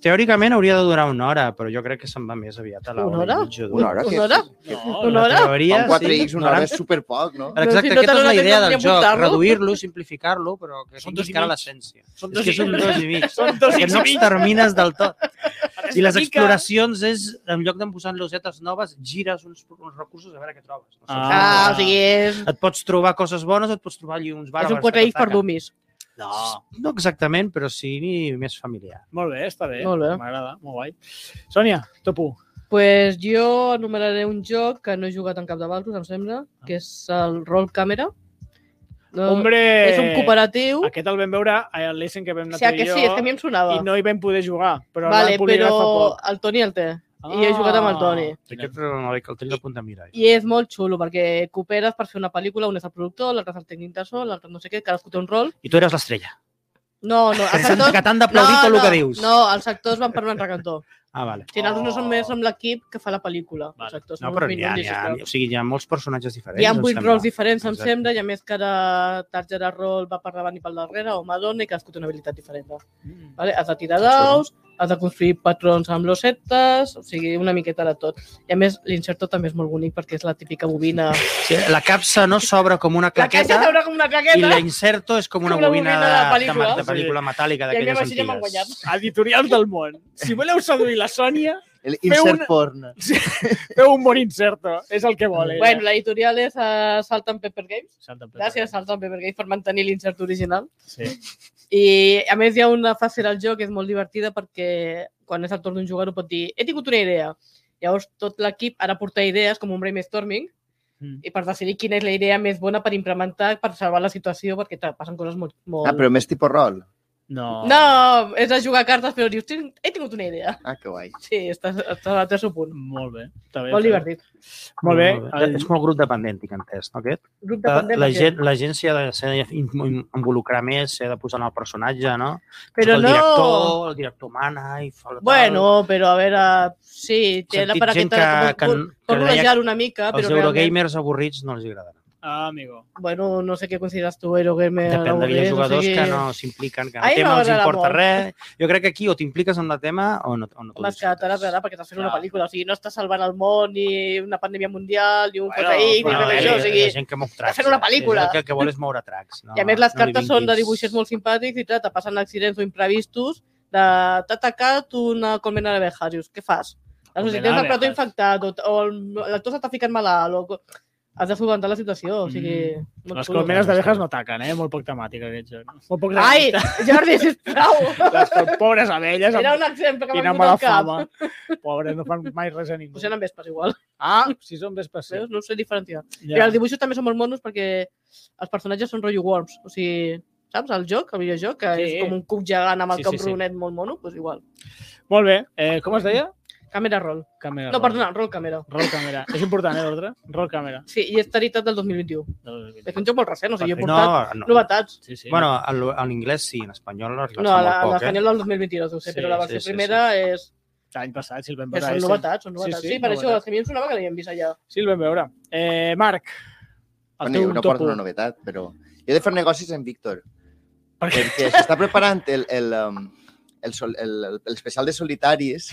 [SPEAKER 4] teòricament hauria de durar una hora, però jo crec que se'n va més aviat a l'hora.
[SPEAKER 2] Una hora?
[SPEAKER 4] i mitja o dues.
[SPEAKER 3] Una hora?
[SPEAKER 2] Una hora?
[SPEAKER 1] No,
[SPEAKER 2] Una hora?
[SPEAKER 4] Teoria,
[SPEAKER 3] Amb 4X una hora és superpoc, no?
[SPEAKER 4] Exacte,
[SPEAKER 2] No, si no
[SPEAKER 4] aquesta és
[SPEAKER 2] t'has
[SPEAKER 4] la
[SPEAKER 2] de
[SPEAKER 4] idea
[SPEAKER 2] tenir
[SPEAKER 4] del
[SPEAKER 2] que
[SPEAKER 4] joc,
[SPEAKER 2] apuntar-lo.
[SPEAKER 4] reduir-lo, simplificar-lo, però que
[SPEAKER 1] Són
[SPEAKER 4] són
[SPEAKER 1] dos i
[SPEAKER 4] encara
[SPEAKER 1] mig.
[SPEAKER 4] l'essència.
[SPEAKER 1] Són
[SPEAKER 4] És que és un dos i mig.
[SPEAKER 1] Són dos
[SPEAKER 4] Que
[SPEAKER 1] i
[SPEAKER 4] no
[SPEAKER 1] mig.
[SPEAKER 4] extermines del tot. I les
[SPEAKER 1] Mica.
[SPEAKER 4] exploracions és, en lloc d'en posant losetes noves, gires uns, uns recursos a veure què trobes. No
[SPEAKER 1] Ah.
[SPEAKER 4] sé.
[SPEAKER 2] Ah, o sigui, és,
[SPEAKER 4] Et pots trobar coses bones, et pots trobar allí uns
[SPEAKER 2] és
[SPEAKER 4] bàrbars.
[SPEAKER 2] un 4X
[SPEAKER 4] que
[SPEAKER 2] per
[SPEAKER 4] t'ataquen.
[SPEAKER 2] dummies.
[SPEAKER 1] No.
[SPEAKER 4] No exactament, però sí més familiar.
[SPEAKER 1] Molt bé, està bé.
[SPEAKER 2] Molt bé.
[SPEAKER 1] M'agrada, molt guai. Sònia, top 1.
[SPEAKER 2] pues jo enumeraré un joc que no he jugat en cap de Valros, em sembla, que és el Roll Camera. No,
[SPEAKER 1] Hombre!
[SPEAKER 2] Eh, és un cooperatiu.
[SPEAKER 1] Eh, Aquest el vam veure a l'Essen que vam
[SPEAKER 2] O
[SPEAKER 1] anar
[SPEAKER 2] sigui,
[SPEAKER 1] tu
[SPEAKER 2] que
[SPEAKER 1] i jo
[SPEAKER 2] sí, és que a mi em sonava.
[SPEAKER 1] i no hi vam poder jugar, però
[SPEAKER 2] vale,
[SPEAKER 1] el
[SPEAKER 2] però
[SPEAKER 1] polígraf fa Ah, poc.
[SPEAKER 2] el Toni el té. i he jugat amb el Toni.
[SPEAKER 4] Aquest no el tenia a punt de mirar.
[SPEAKER 2] I és molt xulo, perquè cooperes per fer una pel·lícula, un és el productor, l'altre és el tècnic de sol, l'altre no sé què, cadascú té un rol.
[SPEAKER 4] I tu eres l'estrella.
[SPEAKER 2] No, no, els
[SPEAKER 4] Pensant
[SPEAKER 2] actors...
[SPEAKER 4] que t'han d'aplaudir tot el que dius.
[SPEAKER 2] No, els actors van per un altre cantó.
[SPEAKER 4] Ah, vale.
[SPEAKER 2] Si nosaltres no som més amb l'equip que fa la pel·lícula.
[SPEAKER 1] Vale.
[SPEAKER 2] Els actors
[SPEAKER 4] No,
[SPEAKER 2] són
[SPEAKER 4] però
[SPEAKER 2] uns
[SPEAKER 4] n'hi ha,
[SPEAKER 2] minuts i
[SPEAKER 4] n'hi ha,
[SPEAKER 2] això.
[SPEAKER 4] o sigui, hi ha molts personatges diferents.
[SPEAKER 2] Hi ha
[SPEAKER 4] em
[SPEAKER 2] vuit
[SPEAKER 4] sembla.
[SPEAKER 2] rols diferents, em
[SPEAKER 4] Exacte.
[SPEAKER 2] sembla, i a més cada targeta de rol va per davant i pel darrere, o Madonna, i cadascú té una habilitat diferent.
[SPEAKER 1] Mm.
[SPEAKER 2] Vale? Has de tirar daus, has de construir patrons amb losetes, o sigui, una miqueta de tot. I a més, l'inserto també és molt bonic perquè és la típica bobina.
[SPEAKER 4] Sí, la capsa no s'obre com una
[SPEAKER 2] La caixa
[SPEAKER 4] claqueta
[SPEAKER 2] s'obre com una
[SPEAKER 4] i
[SPEAKER 2] claqueta.
[SPEAKER 4] l'inserto és com una
[SPEAKER 2] Com la
[SPEAKER 4] bobina
[SPEAKER 2] bobina
[SPEAKER 4] de,
[SPEAKER 2] de
[SPEAKER 4] de,
[SPEAKER 2] pel·lícula,
[SPEAKER 4] ma- de pel·lícula metàl·lica
[SPEAKER 2] I a mi
[SPEAKER 4] d'aquelles
[SPEAKER 2] així ja m'han guanyat.
[SPEAKER 4] antigues. Ah,
[SPEAKER 1] Editorial del món. Si voleu seduir la Sònia,
[SPEAKER 3] El insert
[SPEAKER 1] una-
[SPEAKER 3] porn.
[SPEAKER 1] feu un bon inserto. És el que vol. ella.
[SPEAKER 2] Mm. Bueno, l'editorial és uh, Salt and Pepper Games.
[SPEAKER 1] Salta pel-
[SPEAKER 2] Gràcies, Salt and Pepper Games, per mantenir l'insert original.
[SPEAKER 1] Sí.
[SPEAKER 2] I, a més, hi ha una fase del joc que és molt divertida perquè quan és el torn d'un jugador pot dir he tingut una idea. Llavors, tot l'equip ha de portar idees com un brainstorming
[SPEAKER 1] Mm.
[SPEAKER 2] i per decidir quina és la idea més bona per implementar, per salvar la situació, perquè clar, passen coses molt... molt...
[SPEAKER 3] Ah, però més tipus rol.
[SPEAKER 1] No.
[SPEAKER 4] Ah.
[SPEAKER 2] No, és a jugar a cartes, però dius, "Tinc- he tingut una idea.
[SPEAKER 3] Ah, que guai.
[SPEAKER 2] Sí, estàs, estàs al tercer punt.
[SPEAKER 1] Molt bé. Està bé
[SPEAKER 2] Molt divertit.
[SPEAKER 1] Molt bé. El-
[SPEAKER 4] És molt grup dependent, tinc entès, no, aquest?
[SPEAKER 2] Grup de
[SPEAKER 4] La,
[SPEAKER 2] pandèmia.
[SPEAKER 4] la, gent, la gent s'hi ha de s'ha d'involucrar més, s'hi ha de posar en el personatge, no?
[SPEAKER 2] Però
[SPEAKER 4] el
[SPEAKER 2] no...
[SPEAKER 4] director, el director mana i fa tal.
[SPEAKER 2] Bueno, però a veure, sí, té la
[SPEAKER 4] Sentit gent
[SPEAKER 2] paraqueta
[SPEAKER 4] que-
[SPEAKER 2] que,
[SPEAKER 4] que-
[SPEAKER 2] vol,
[SPEAKER 4] que
[SPEAKER 2] vol
[SPEAKER 4] deia
[SPEAKER 2] rodejar una mica,
[SPEAKER 4] Els
[SPEAKER 2] però realment,
[SPEAKER 4] Eurogamers avorrits no els agradarà.
[SPEAKER 1] Ah, amigo.
[SPEAKER 2] bueno, no sé què consideres tu, Eurogamer.
[SPEAKER 4] Depèn
[SPEAKER 2] algo
[SPEAKER 4] d'aquells
[SPEAKER 2] més, o
[SPEAKER 4] jugadors
[SPEAKER 2] sigui,
[SPEAKER 4] que no s'impliquen, que
[SPEAKER 2] A mi
[SPEAKER 4] el tema no els
[SPEAKER 2] m'agrada
[SPEAKER 4] importa
[SPEAKER 2] molt.
[SPEAKER 4] res. Jo crec que aquí o t'impliques en el tema o no, o no t'ho
[SPEAKER 2] M'has quedat ara darrere perquè t'has fet una
[SPEAKER 7] Clar.
[SPEAKER 2] pel·lícula, o sigui, no estàs salvant el món, ni una pandèmia mundial, ni un
[SPEAKER 1] Bueno,
[SPEAKER 2] bueno, ni
[SPEAKER 1] bueno,
[SPEAKER 2] res
[SPEAKER 1] eh,
[SPEAKER 2] d'això, o sigui...
[SPEAKER 4] la gent que mou tracks,
[SPEAKER 2] fent una
[SPEAKER 4] eh?
[SPEAKER 2] pel·lícula.
[SPEAKER 4] Sí, El que, el que vol és moure tracks. No,
[SPEAKER 2] I a
[SPEAKER 1] Ah,
[SPEAKER 2] més les
[SPEAKER 4] no li
[SPEAKER 2] cartes són de
[SPEAKER 4] vinguis-
[SPEAKER 2] dibuixets molt simpàtics i clar, te passen accidents o imprevistos de t'ha atacat una colmena d'abejas, dius, què fas? Doncs si
[SPEAKER 1] Colmena
[SPEAKER 2] tens el plató
[SPEAKER 1] d'abejas.
[SPEAKER 2] infectat o, o el- la tos està ficant malalt o co- has de solventar la situació, o sigui...
[SPEAKER 1] Mm.
[SPEAKER 2] molt
[SPEAKER 1] Les
[SPEAKER 2] xulo.
[SPEAKER 1] colmenes d'abejas no taquen, eh? Molt poc temàtic, aquest joc. Molt poc
[SPEAKER 2] Ai,
[SPEAKER 1] realista.
[SPEAKER 2] Jordi, sisplau!
[SPEAKER 1] Les po- pobres abelles.
[SPEAKER 2] Era
[SPEAKER 1] Amb...
[SPEAKER 2] un exemple que
[SPEAKER 1] Quina
[SPEAKER 2] m'ha vingut
[SPEAKER 1] mala
[SPEAKER 2] al cap.
[SPEAKER 1] fama. Pobres, no fan mai res a ningú.
[SPEAKER 2] Potser eren vespes igual,
[SPEAKER 1] Ah, si són vespes, sí.
[SPEAKER 2] veus? No sé diferenciar.
[SPEAKER 1] Ja.
[SPEAKER 2] Però els dibuixos també són molt monos perquè els personatges són rotllo worms, o sigui, saps? El joc, el videojoc, que
[SPEAKER 1] Sí.
[SPEAKER 2] és com un cuc gegant amb el
[SPEAKER 1] Sí,
[SPEAKER 2] cap
[SPEAKER 1] sí, sí.
[SPEAKER 2] rodonet molt mono, doncs igual.
[SPEAKER 1] Molt bé. Eh, com es deia?
[SPEAKER 2] Càmera roll.
[SPEAKER 1] Càmera.
[SPEAKER 2] No,
[SPEAKER 1] roll.
[SPEAKER 2] perdona, roll càmera.
[SPEAKER 1] Roll càmera. És important, eh, l'ordre? Roll càmera.
[SPEAKER 2] Sí, i és Taritat del 2021. És un joc molt recent, o sigui, jo he
[SPEAKER 4] No,
[SPEAKER 2] portat
[SPEAKER 4] no.
[SPEAKER 2] novetats.
[SPEAKER 1] Sí, sí.
[SPEAKER 4] Bueno, en, lo- en anglès sí, en espanyol no arriba
[SPEAKER 2] No, la,
[SPEAKER 4] molt
[SPEAKER 2] la
[SPEAKER 4] poc, eh?
[SPEAKER 2] Genial del 2022, ho sé,
[SPEAKER 1] Sí,
[SPEAKER 2] però la
[SPEAKER 4] sí,
[SPEAKER 2] versió
[SPEAKER 4] sí,
[SPEAKER 2] primera és...
[SPEAKER 1] L'any passat, si el vam
[SPEAKER 2] Que
[SPEAKER 1] veure.
[SPEAKER 2] són
[SPEAKER 1] eh,
[SPEAKER 2] novetats, són novetats.
[SPEAKER 1] Sí,
[SPEAKER 2] Sí,
[SPEAKER 1] sí,
[SPEAKER 2] per
[SPEAKER 1] novetats.
[SPEAKER 2] això, que a mi em sonava que l'havíem vist allà.
[SPEAKER 1] Sí, el vam veure. Eh, Marc, el
[SPEAKER 3] Bueno,
[SPEAKER 1] teu
[SPEAKER 3] jo no
[SPEAKER 1] top
[SPEAKER 3] porto
[SPEAKER 1] u.
[SPEAKER 3] una novetat, però... Jo he de fer negocis amb Víctor.
[SPEAKER 1] Per què?
[SPEAKER 3] Perquè s'està preparant el, el, um, el, sol, el, el, especial de solitaris.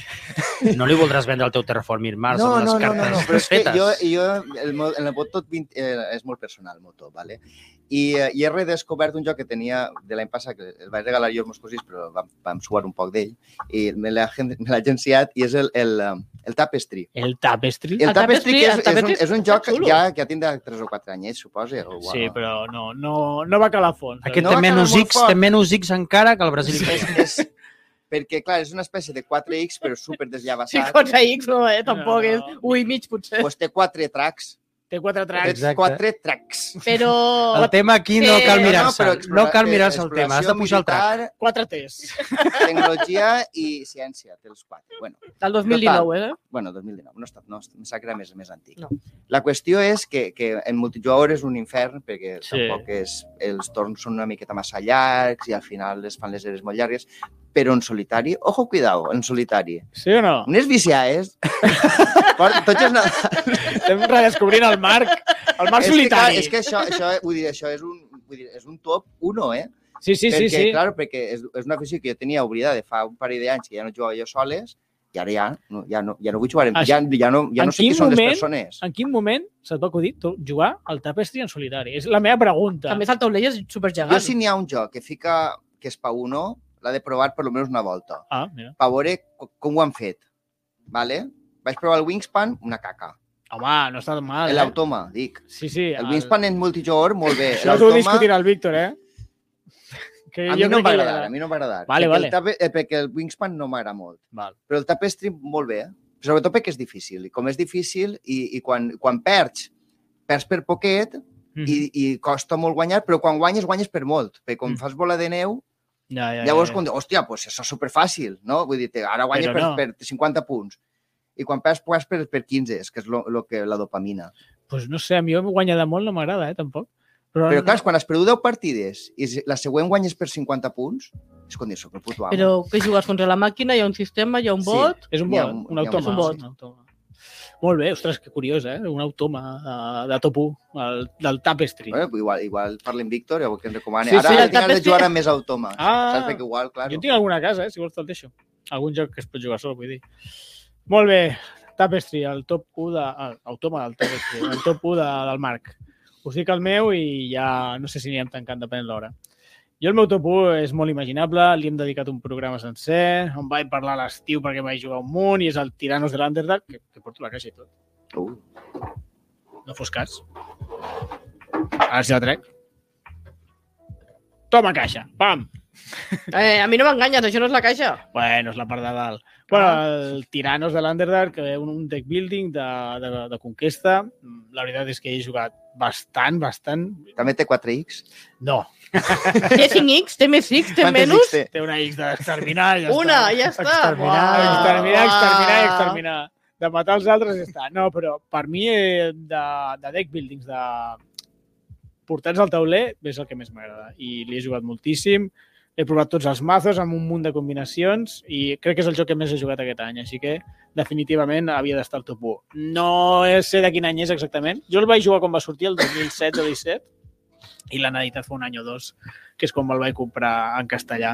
[SPEAKER 4] No li voldràs vendre el teu Terraformir Mars amb les cartes
[SPEAKER 3] però és que
[SPEAKER 4] fetes.
[SPEAKER 3] jo, jo el, meu- el meu tot 20, eh, és molt personal, molt top, vale? I, eh, i he redescobert un joc que tenia de l'any passat, que el vaig regalar jo als meus cosins, però vam, vam suar un poc d'ell, i me l'ha gen- me l'ha agenciat, i és el, el, um, el Tapestry.
[SPEAKER 1] El tapestry?
[SPEAKER 3] El,
[SPEAKER 2] El
[SPEAKER 3] Tapestry,
[SPEAKER 2] Tapestry-
[SPEAKER 3] que és,
[SPEAKER 2] el
[SPEAKER 3] és, un,
[SPEAKER 2] Tapestry
[SPEAKER 3] és un
[SPEAKER 2] està
[SPEAKER 3] joc
[SPEAKER 2] xulo.
[SPEAKER 3] ja, que ja tindrà 3 o 4 anyets, suposa. O,
[SPEAKER 1] Sí, però no, no, no va calar a fons.
[SPEAKER 4] Aquest
[SPEAKER 3] No
[SPEAKER 4] té
[SPEAKER 3] va quedar
[SPEAKER 4] menys
[SPEAKER 3] molt
[SPEAKER 4] X,
[SPEAKER 3] fort.
[SPEAKER 4] té menys X encara que el Brasil.
[SPEAKER 3] és, és, perquè, clar, és una espècie de 4X, però super
[SPEAKER 2] Sí,
[SPEAKER 3] desllavassat.
[SPEAKER 2] contra X no, eh? Tampoc
[SPEAKER 1] No,
[SPEAKER 2] és...
[SPEAKER 1] no.
[SPEAKER 2] Ui, mig, potser.
[SPEAKER 3] Pues té 4 tracks.
[SPEAKER 1] Té quatre tracks.
[SPEAKER 4] Exacte.
[SPEAKER 3] 4 tracks.
[SPEAKER 2] Però...
[SPEAKER 4] El tema aquí no
[SPEAKER 2] Sí.
[SPEAKER 4] cal
[SPEAKER 2] No, no,
[SPEAKER 4] mirar-se.
[SPEAKER 3] Eh, però
[SPEAKER 4] No
[SPEAKER 3] explora-
[SPEAKER 4] cal mirar-se el
[SPEAKER 3] exploració
[SPEAKER 4] tema. Has de pujar el track.
[SPEAKER 3] militar,
[SPEAKER 1] Quatre T's.
[SPEAKER 3] Tecnologia i ciència, té els 4. Bueno,
[SPEAKER 2] Del 2019, eh?
[SPEAKER 3] bueno, 2019, no ha estat, no, em sap que era més, més antic.
[SPEAKER 2] No.
[SPEAKER 3] La qüestió és que, que en multijugador és un infern, perquè
[SPEAKER 1] Sí.
[SPEAKER 3] sí. tampoc és, els torns són una miqueta massa llargs i al final es fan les eres molt llargues, però en solitari, ojo, cuidao, en solitari.
[SPEAKER 1] Sí o no?
[SPEAKER 3] Unes viciades. Porta- Tots els nadals.
[SPEAKER 1] Estem redescobrint el Marc. El Marc
[SPEAKER 3] És que, clar,
[SPEAKER 1] solitari.
[SPEAKER 3] és que això, això, vull dir, això és un, vull dir, és un top 1, eh?
[SPEAKER 1] Sí, sí, sí.
[SPEAKER 3] perquè,
[SPEAKER 1] sí.
[SPEAKER 3] Clar, perquè és, és una afició que jo tenia oblidada de fa un parell d'anys que ja no jugava jo soles i ara ja no, ja no, ja no vull jugar. amb-
[SPEAKER 1] Això-
[SPEAKER 3] Ja, ja no, ja
[SPEAKER 1] en
[SPEAKER 3] no sé
[SPEAKER 1] quin
[SPEAKER 3] qui són les
[SPEAKER 1] moment-
[SPEAKER 3] persones.
[SPEAKER 1] En quin moment se't va acudir tu jugar al Tapestry en solitari? És la meva pregunta.
[SPEAKER 2] També és el taulell és
[SPEAKER 3] Jo
[SPEAKER 2] supergegant.
[SPEAKER 3] si n'hi ha un joc que fica que és pa 1, l'ha de provar per almenys una volta.
[SPEAKER 1] Ah, mira.
[SPEAKER 3] Per veure co- com ho han fet. Vale? Vaig provar el Wingspan, una caca.
[SPEAKER 1] Home, no està mal. eh?
[SPEAKER 3] L'automa, dic.
[SPEAKER 1] Sí, sí.
[SPEAKER 3] El Wingspan en multijugador, molt bé.
[SPEAKER 1] Això t'ho
[SPEAKER 3] L'automa,
[SPEAKER 1] discutirà el Víctor, eh? Que
[SPEAKER 3] a mi
[SPEAKER 1] jo crec
[SPEAKER 3] no em va
[SPEAKER 1] que li
[SPEAKER 3] agradar. A mi no em va agradar.
[SPEAKER 1] Vale,
[SPEAKER 3] perquè,
[SPEAKER 1] vale.
[SPEAKER 3] El tape, eh, perquè el Wingspan no m'agrada molt.
[SPEAKER 1] Val.
[SPEAKER 3] Però el tapestry molt bé, eh? sobretot perquè és difícil. I com és difícil i, i quan, quan perds, perds per poquet
[SPEAKER 1] Mhm.
[SPEAKER 3] i, i costa molt guanyar, però quan guanyes, guanyes per molt. Perquè quan
[SPEAKER 1] Mm.
[SPEAKER 3] fas bola de neu,
[SPEAKER 1] Ja, ja,
[SPEAKER 3] llavors,
[SPEAKER 1] ja, ja.
[SPEAKER 3] quan dius, hòstia, pues això és superfàcil, no? Vull dir, te- ara guanyes
[SPEAKER 1] Però
[SPEAKER 3] per, per 50 punts. I quan perds, perds per, per 15, és que és lo, lo que, la dopamina.
[SPEAKER 1] pues no sé, a mi guanyar de molt no m'agrada, eh, tampoc. Però,
[SPEAKER 3] Però, clar, és quan has perdut 10 partides i la següent guanyes per 50 punts, és quan dius, soc el puto amo.
[SPEAKER 2] Però que jugues contra la màquina, hi ha un sistema, hi ha un
[SPEAKER 3] Sí.
[SPEAKER 2] bot...
[SPEAKER 1] és un
[SPEAKER 3] n'hi ha
[SPEAKER 1] bot,
[SPEAKER 3] un-
[SPEAKER 1] un
[SPEAKER 3] n'hi ha un-
[SPEAKER 1] automa.
[SPEAKER 2] és un bot.
[SPEAKER 1] automa. Molt bé, ostres, que curiós, eh? Un automa eh, de top 1, el, del Tapestry.
[SPEAKER 3] Bueno, pues igual, igual parlem Víctor, o que ens recomani.
[SPEAKER 1] Sí,
[SPEAKER 3] Sí, Ara
[SPEAKER 1] sí,
[SPEAKER 3] sí,
[SPEAKER 1] el
[SPEAKER 3] el tinc ganes de
[SPEAKER 2] tapete-
[SPEAKER 3] jugar amb més automa.
[SPEAKER 1] Ah.
[SPEAKER 3] Ah. Saps? Perquè igual, clar,
[SPEAKER 1] Jo en tinc alguna a casa, eh? Si vols te'l deixo. Algun joc que es pot jugar sol, vull dir. Molt bé. Tapestry, el top 1 de... El, el toma del Tapestry, el top 1 de, del Marc. Us dic el meu i ja no sé si anirem tancant, depèn de l'hora. Jo el meu top 1 és molt imaginable, li hem dedicat un programa sencer, on vaig parlar a l'estiu perquè vaig jugar un munt i és el Tiranos de l'Underdog, que, que porto la caixa i tot.
[SPEAKER 9] Uh.
[SPEAKER 1] No fos cas. Ara sí la trec. Toma caixa, pam!
[SPEAKER 2] Eh, a mi no m'enganyes, això no és la caixa.
[SPEAKER 1] Bueno, és la part de dalt. Bueno, el Tiranos de l'Underdark, que un, un deck building de, de, de conquesta. La veritat és que he jugat bastant, bastant.
[SPEAKER 3] També té 4X.
[SPEAKER 1] No,
[SPEAKER 2] Té 5X, té més X, té
[SPEAKER 3] Quantes
[SPEAKER 2] menys.
[SPEAKER 3] X té?
[SPEAKER 1] té una X d'exterminar i ja
[SPEAKER 2] Una,
[SPEAKER 1] està.
[SPEAKER 2] ja està.
[SPEAKER 4] Exterminar,
[SPEAKER 2] Buah.
[SPEAKER 1] Exterminar, exterminar,
[SPEAKER 2] Buah.
[SPEAKER 1] exterminar. De matar els altres i ja està. No, però per mi, eh, de, de deck buildings, de portats al tauler, és el que més m'agrada. I li he jugat moltíssim. He provat tots els mazos amb un munt de combinacions i crec que és el joc que més he jugat aquest any, així que definitivament havia d'estar al top 1. No sé de quin any és exactament. Jo el vaig jugar quan va sortir, el 2016 o 17, i l'han editat fa un any o dos, que és quan me'l vaig comprar en castellà.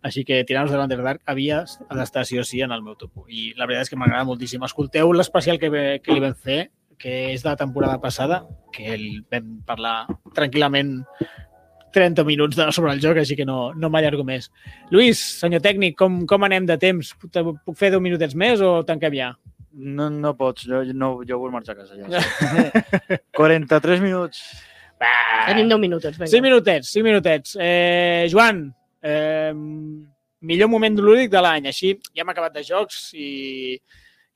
[SPEAKER 1] Així que Tiranos de l'Underdark havia d'estar sí o sí en el meu top 1. I la veritat és que m'agrada moltíssim. Escolteu l'especial que, ve- que li vam fer, que és de la temporada passada, que el vam parlar tranquil·lament 30 minuts de, sobre el joc, així que no, no m'allargo més. Lluís, senyor tècnic, com, com anem de temps? Puc- te- Puc fer 10 minutets més o tanquem ja?
[SPEAKER 6] No, no pots, jo, no, jo vull marxar a casa. Ja. 43 minuts.
[SPEAKER 2] Tenim 10 minutets, vinga.
[SPEAKER 1] 5 minutets, 5 minutets. Eh, Joan, eh, millor moment lúdic de l'any. Així ja hem acabat de jocs i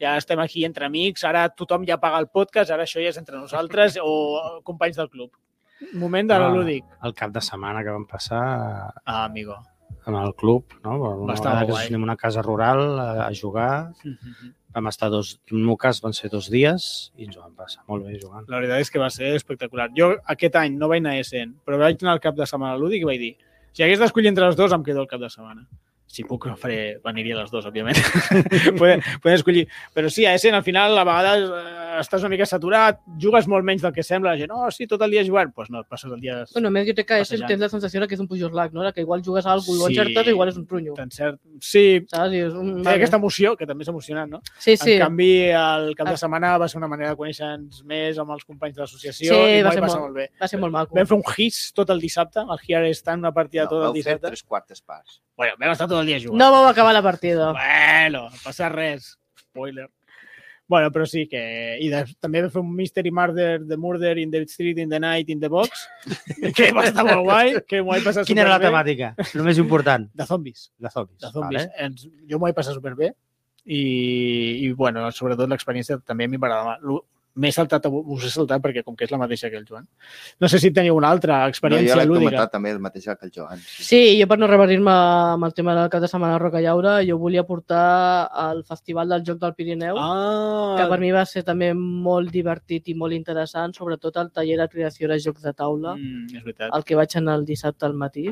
[SPEAKER 1] ja estem aquí entre amics. Ara tothom ja paga el podcast, ara això ja és entre nosaltres o companys del club. Moment de
[SPEAKER 4] Ah.
[SPEAKER 1] ah. lúdic.
[SPEAKER 4] El cap de setmana que vam passar
[SPEAKER 1] Ah, amigo.
[SPEAKER 4] amb el club, no? Una
[SPEAKER 1] estar
[SPEAKER 4] vegada
[SPEAKER 1] molt
[SPEAKER 4] que
[SPEAKER 1] guai.
[SPEAKER 4] ens anem a una casa rural a, a jugar,
[SPEAKER 1] Mhm.
[SPEAKER 4] vam estar dos, en el meu cas van ser dos dies i ens ho vam passar molt bé jugant.
[SPEAKER 1] La veritat és que va ser espectacular. Jo aquest any no vaig anar a Essen, però vaig anar al cap de setmana lúdic i vaig dir si hagués d'escollir entre les dues, em quedo al cap de setmana. Si puc, no faré... aniria a les dues, òbviament. podem, podem escollir. Però sí, a Essen, al final, a vegades eh, estàs una mica saturat, jugues molt menys del que sembla. La gent, oh, sí, tot el dia jugant. Doncs pues no, et passes el dia...
[SPEAKER 2] Bueno, a més, jo crec que és,
[SPEAKER 1] Passejant.
[SPEAKER 2] tens la sensació de que és un pujorlac, no? De que igual jugues a alguna cosa i
[SPEAKER 1] Sí.
[SPEAKER 2] ho encertes, igual és un trunyo.
[SPEAKER 1] Tan cert. Sí,
[SPEAKER 2] Saps? I és un...
[SPEAKER 1] té aquesta emoció, que també és emocionant, no? Sí.
[SPEAKER 2] Sí, sí.
[SPEAKER 1] En canvi, el cap de
[SPEAKER 2] Ah.
[SPEAKER 1] setmana va ser una manera de conèixer-nos més amb els companys de l'associació
[SPEAKER 2] Sí,
[SPEAKER 1] i
[SPEAKER 2] va
[SPEAKER 1] va
[SPEAKER 2] ser
[SPEAKER 1] passar
[SPEAKER 2] molt-
[SPEAKER 1] molt bé.
[SPEAKER 2] Va ser molt maco.
[SPEAKER 1] Vam fer un his tot el dissabte, el Here està en una partida no, tot el
[SPEAKER 3] vau fer
[SPEAKER 1] dissabte.
[SPEAKER 3] tres quartes parts.
[SPEAKER 1] Bueno, vam estar tot el dia jugant.
[SPEAKER 2] No vau acabar la partida.
[SPEAKER 1] Bueno, no passa res. Spoiler. Bueno, però sí que... I de, també vam fer un Mystery Murder, The Murder in the Street, in the Night, in the Box, que va estar molt guai, que m'ho vaig passar
[SPEAKER 4] Quina era la
[SPEAKER 1] superbé.
[SPEAKER 4] temàtica? El més important,
[SPEAKER 1] De zombis.
[SPEAKER 4] de zombis.
[SPEAKER 1] De zombis. Vale. Ens, jo m'ho vaig passar superbé i, i bueno, sobretot l'experiència també a mi m'agradava. Lo- M'he saltat, us he saltat perquè com que és la mateixa que el Joan. No sé si teniu una altra
[SPEAKER 3] No, jo
[SPEAKER 1] experiència
[SPEAKER 3] l'he
[SPEAKER 1] lúdica.
[SPEAKER 3] comentat també el mateix que el Joan. Sí.
[SPEAKER 2] Sí, jo per no revertir-me amb el tema del cap de setmana Roca Llaura, jo volia portar al Festival del Joc del Pirineu, ah.
[SPEAKER 1] Ah,
[SPEAKER 2] que per mi va ser també molt divertit i molt interessant, sobretot el taller de creació de jocs de taula,
[SPEAKER 1] Mm, és veritat.
[SPEAKER 2] al que vaig anar el dissabte al matí,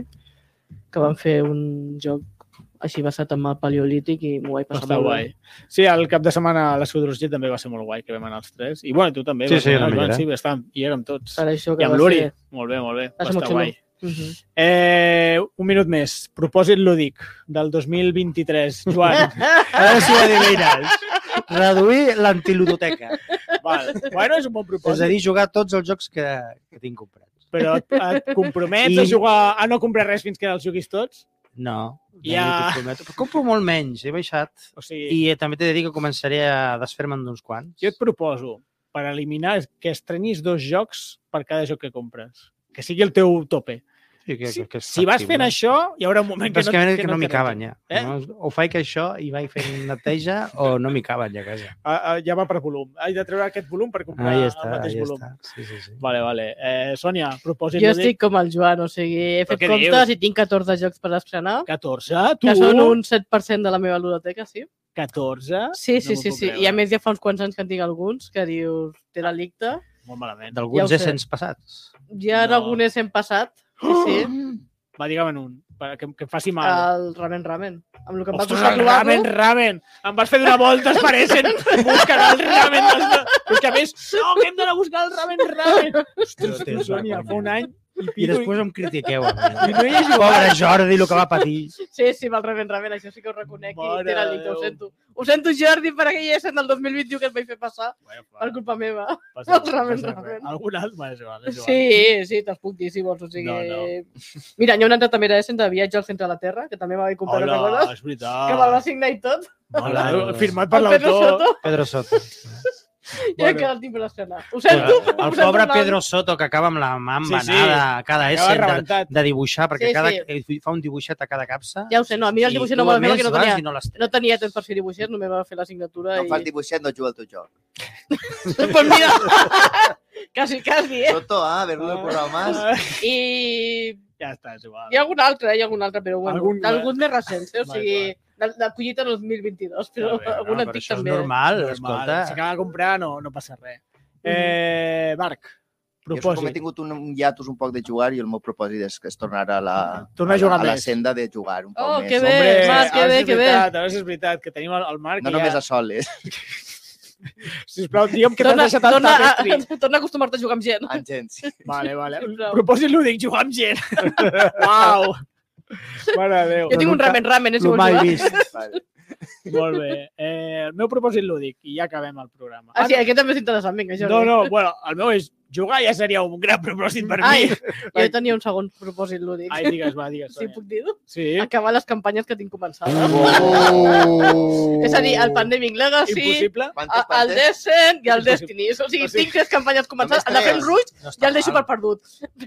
[SPEAKER 2] que van fer un joc així basat en el paleolític i m'ho vaig
[SPEAKER 1] Va
[SPEAKER 2] passar
[SPEAKER 1] estar
[SPEAKER 2] molt
[SPEAKER 1] guai.
[SPEAKER 2] bé.
[SPEAKER 1] Sí, el cap de setmana a la Sudrosget també va ser molt guai, que vam anar els tres. I bueno, tu també.
[SPEAKER 4] Sí,
[SPEAKER 1] vas
[SPEAKER 4] sí,
[SPEAKER 1] anar,
[SPEAKER 4] també
[SPEAKER 1] Joan,
[SPEAKER 4] era.
[SPEAKER 1] sí, estàvem, hi érem tots.
[SPEAKER 2] Per això que
[SPEAKER 1] I amb
[SPEAKER 2] va
[SPEAKER 1] l'Uri.
[SPEAKER 2] ser...
[SPEAKER 1] Molt bé, molt bé.
[SPEAKER 2] Ah. Va
[SPEAKER 1] Va
[SPEAKER 2] ser molt
[SPEAKER 1] estar
[SPEAKER 2] xulo.
[SPEAKER 1] guai.
[SPEAKER 2] Mhm.
[SPEAKER 1] Eh, un minut més. Propòsit lúdic del 2023. Joan,
[SPEAKER 4] A veure si ho adivines. Reduir l'antiludoteca.
[SPEAKER 1] val. Bueno, és un bon
[SPEAKER 4] És a
[SPEAKER 1] propòsit.
[SPEAKER 4] dir, jugar tots els jocs que, que tinc comprats.
[SPEAKER 1] Però et, et compromets I... a
[SPEAKER 4] I-
[SPEAKER 1] jugar a no comprar res fins que els juguis tots?
[SPEAKER 4] No.
[SPEAKER 1] Ja.
[SPEAKER 4] Ja. Compro molt menys, he baixat.
[SPEAKER 1] O sigui, I...
[SPEAKER 4] I eh, també t'he de dir que començaré a desfer-me'n d'uns quants.
[SPEAKER 1] jo et proposo per eliminar que estrenyis dos jocs per cada joc que compres. Que sigui el teu tope.
[SPEAKER 4] Sí, que,
[SPEAKER 1] Si,
[SPEAKER 4] que és
[SPEAKER 1] si vas
[SPEAKER 4] factible.
[SPEAKER 1] fent això, hi haurà un moment que
[SPEAKER 4] Però és que, no, que no,
[SPEAKER 1] te
[SPEAKER 4] m'hi caben
[SPEAKER 1] renti.
[SPEAKER 4] ja.
[SPEAKER 1] Eh?
[SPEAKER 4] Eh? No, o faig això i vaig fent neteja o no m'hi caben ja a casa.
[SPEAKER 1] Ah, ah, ja va per volum. Haig de treure aquest volum per comprar
[SPEAKER 4] Ahí
[SPEAKER 1] el
[SPEAKER 4] està,
[SPEAKER 1] mateix
[SPEAKER 4] ahí
[SPEAKER 1] volum.
[SPEAKER 4] està. Sí, sí, sí.
[SPEAKER 1] Vale, vale. Eh, Sònia, propòsit
[SPEAKER 2] Jo
[SPEAKER 1] lúdic
[SPEAKER 2] estic com el Joan, o sigui, he
[SPEAKER 1] Però
[SPEAKER 2] fet
[SPEAKER 1] què
[SPEAKER 2] comptes
[SPEAKER 1] dius?
[SPEAKER 2] i tinc 14 jocs per estrenar,
[SPEAKER 1] 14, tu?
[SPEAKER 2] que són un 7% de la meva ludoteca, sí.
[SPEAKER 1] 14?
[SPEAKER 2] Sí, sí,
[SPEAKER 1] No m'ho
[SPEAKER 2] sí,
[SPEAKER 1] puc
[SPEAKER 2] sí.
[SPEAKER 1] creure.
[SPEAKER 2] I a més ja fa uns quants anys que en tinc alguns que dius, té delicte.
[SPEAKER 1] Molt malament.
[SPEAKER 2] Ja ho
[SPEAKER 4] D'alguns
[SPEAKER 2] sé.
[SPEAKER 4] ja essents passats.
[SPEAKER 2] Ja en
[SPEAKER 1] No.
[SPEAKER 2] algun hem passat. Sí, sí.
[SPEAKER 1] Va, digue'm en un, per- que, que em faci mal.
[SPEAKER 2] El ramen ramen. Amb el que Ah, em va
[SPEAKER 1] Ostres,
[SPEAKER 2] costar
[SPEAKER 1] el ramen,
[SPEAKER 2] trobar-lo.
[SPEAKER 1] ramen. Em vas fer donar voltes per Essen buscant el ramen. Dels... Però és que a més, no, que hem d'anar a buscar el ramen, ramen. Ostres,
[SPEAKER 4] tens
[SPEAKER 1] Sònia,
[SPEAKER 4] vergonya.
[SPEAKER 1] fa un any
[SPEAKER 4] I després em critiqueu. a
[SPEAKER 1] I
[SPEAKER 4] mi.
[SPEAKER 1] no hi he jugat.
[SPEAKER 4] Pobre Jordi, el que va patir.
[SPEAKER 2] Sí, sí, me'l rebent rebent, això sí que ho reconec.
[SPEAKER 1] Mare
[SPEAKER 2] Mare literalment,
[SPEAKER 1] de
[SPEAKER 2] ho
[SPEAKER 1] Déu.
[SPEAKER 2] sento. Ho sento, Jordi, per aquella ESA del 2021 que et vaig fer passar per culpa meva.
[SPEAKER 1] Passa
[SPEAKER 2] el
[SPEAKER 1] res,
[SPEAKER 2] Ramen
[SPEAKER 1] passa res.
[SPEAKER 2] Ramen.
[SPEAKER 1] Algun altre m'ha jugat. m'ha jugat.
[SPEAKER 2] Sí, sí, te'ls puc dir si vols. O sigui...
[SPEAKER 1] No,
[SPEAKER 2] no. Mira, hi ha una altra també d'ESA de viatge al centre de la Terra, que també m'ha comprat una
[SPEAKER 1] Hola,
[SPEAKER 2] cosa,
[SPEAKER 1] és veritat.
[SPEAKER 2] que me'l va signar i tot.
[SPEAKER 1] Hola,
[SPEAKER 4] Hola.
[SPEAKER 1] firmat Ah. per
[SPEAKER 2] el Pedro
[SPEAKER 1] l'autor.
[SPEAKER 2] Soto,
[SPEAKER 4] Pedro Soto.
[SPEAKER 2] i ha
[SPEAKER 1] Bueno.
[SPEAKER 2] quedat impressionat. Ho sento.
[SPEAKER 4] El pobre Pedro Soto, que acaba amb la mà
[SPEAKER 1] Sí, sí.
[SPEAKER 4] embanada sí, cada
[SPEAKER 1] Acaba
[SPEAKER 4] essent de,
[SPEAKER 1] rebentat.
[SPEAKER 4] de dibuixar, perquè
[SPEAKER 2] Sí,
[SPEAKER 4] sí, cada, sí. fa un dibuixet a cada capsa.
[SPEAKER 2] Ja ho sé, no, a mi el dibuix no me'l va
[SPEAKER 4] va
[SPEAKER 2] fer, que no tenia,
[SPEAKER 4] No les...
[SPEAKER 2] no tenia temps per fer dibuixers, només va fer la signatura.
[SPEAKER 3] No fas
[SPEAKER 2] i...
[SPEAKER 3] dibuixet, no juga al teu joc.
[SPEAKER 2] pues mira, quasi, quasi, eh?
[SPEAKER 3] Soto, ah, haver-lo
[SPEAKER 1] Ah.
[SPEAKER 3] posat más.
[SPEAKER 2] I
[SPEAKER 1] Ja està, és igual.
[SPEAKER 2] Hi ha algun altre, eh? hi ha algun altre, però bueno,
[SPEAKER 1] Algun-
[SPEAKER 2] algun, algun més recent, eh? o
[SPEAKER 1] Vale,
[SPEAKER 2] sigui, de, de collita 2022, però
[SPEAKER 1] Està bé, no,
[SPEAKER 2] algun
[SPEAKER 1] però
[SPEAKER 2] antic
[SPEAKER 4] Això és
[SPEAKER 2] també.
[SPEAKER 4] normal,
[SPEAKER 1] Normal,
[SPEAKER 4] escolta.
[SPEAKER 1] S'acaba de comprar, no, no passa res. Eh, Marc,
[SPEAKER 3] Jo com he
[SPEAKER 1] propòsit.
[SPEAKER 3] tingut un, un hiatus un poc de jugar i el meu propòsit és que es tornarà a la,
[SPEAKER 1] Tornar a
[SPEAKER 3] la,
[SPEAKER 1] jugar
[SPEAKER 3] a la
[SPEAKER 1] més.
[SPEAKER 3] senda de jugar un poc
[SPEAKER 2] Oh,
[SPEAKER 3] més.
[SPEAKER 2] que bé, Marc, que
[SPEAKER 1] ara
[SPEAKER 2] bé,
[SPEAKER 1] sí és
[SPEAKER 2] que bé.
[SPEAKER 1] veritat, ara sí és veritat, que tenim el, el Marc.
[SPEAKER 3] No
[SPEAKER 1] que
[SPEAKER 3] només
[SPEAKER 1] ja...
[SPEAKER 3] a eh? soles.
[SPEAKER 1] Sisplau, digue'm que t'has
[SPEAKER 2] Torna,
[SPEAKER 1] deixat el
[SPEAKER 2] torna,
[SPEAKER 1] paper
[SPEAKER 2] a,
[SPEAKER 1] escrit.
[SPEAKER 2] torna a acostumar-te a jugar amb gent.
[SPEAKER 3] En gent, sí.
[SPEAKER 1] Vale, vale.
[SPEAKER 2] Sisplau.
[SPEAKER 1] Propòsit lúdic, jugar amb gent. Uau. Mare de Déu.
[SPEAKER 2] Jo tinc un ramen-ramen, eh, si
[SPEAKER 4] Lo
[SPEAKER 2] vols
[SPEAKER 4] mai
[SPEAKER 2] jugar.
[SPEAKER 4] vist.
[SPEAKER 3] Vale.
[SPEAKER 1] Molt bé. Eh, el meu propòsit lúdic, i ja acabem el programa.
[SPEAKER 2] Ah, sí, aquest també és interessant, vinga, Jordi.
[SPEAKER 1] no, no, bueno, el meu és jugar ja seria un gran propòsit per
[SPEAKER 2] Ai,
[SPEAKER 1] mi.
[SPEAKER 2] jo tenia un segon propòsit lúdic.
[SPEAKER 1] Ai, digues, va, digues.
[SPEAKER 2] Sí,
[SPEAKER 1] Sònia.
[SPEAKER 2] puc dir-ho?
[SPEAKER 1] sí.
[SPEAKER 2] Acabar les campanyes que tinc començades. És a dir, el Pandemic Legacy,
[SPEAKER 1] Impossible?
[SPEAKER 3] Quantes,
[SPEAKER 2] a- el
[SPEAKER 3] quantes?
[SPEAKER 2] Descent i el
[SPEAKER 1] Impossible.
[SPEAKER 2] Destiny. O sigui,
[SPEAKER 1] O sigui,
[SPEAKER 2] tinc tres campanyes començades. El
[SPEAKER 3] només
[SPEAKER 2] de Fent
[SPEAKER 3] tres.
[SPEAKER 2] Rouge
[SPEAKER 4] No està
[SPEAKER 2] ja el
[SPEAKER 1] Ah.
[SPEAKER 2] deixo per
[SPEAKER 4] mal.
[SPEAKER 2] perdut.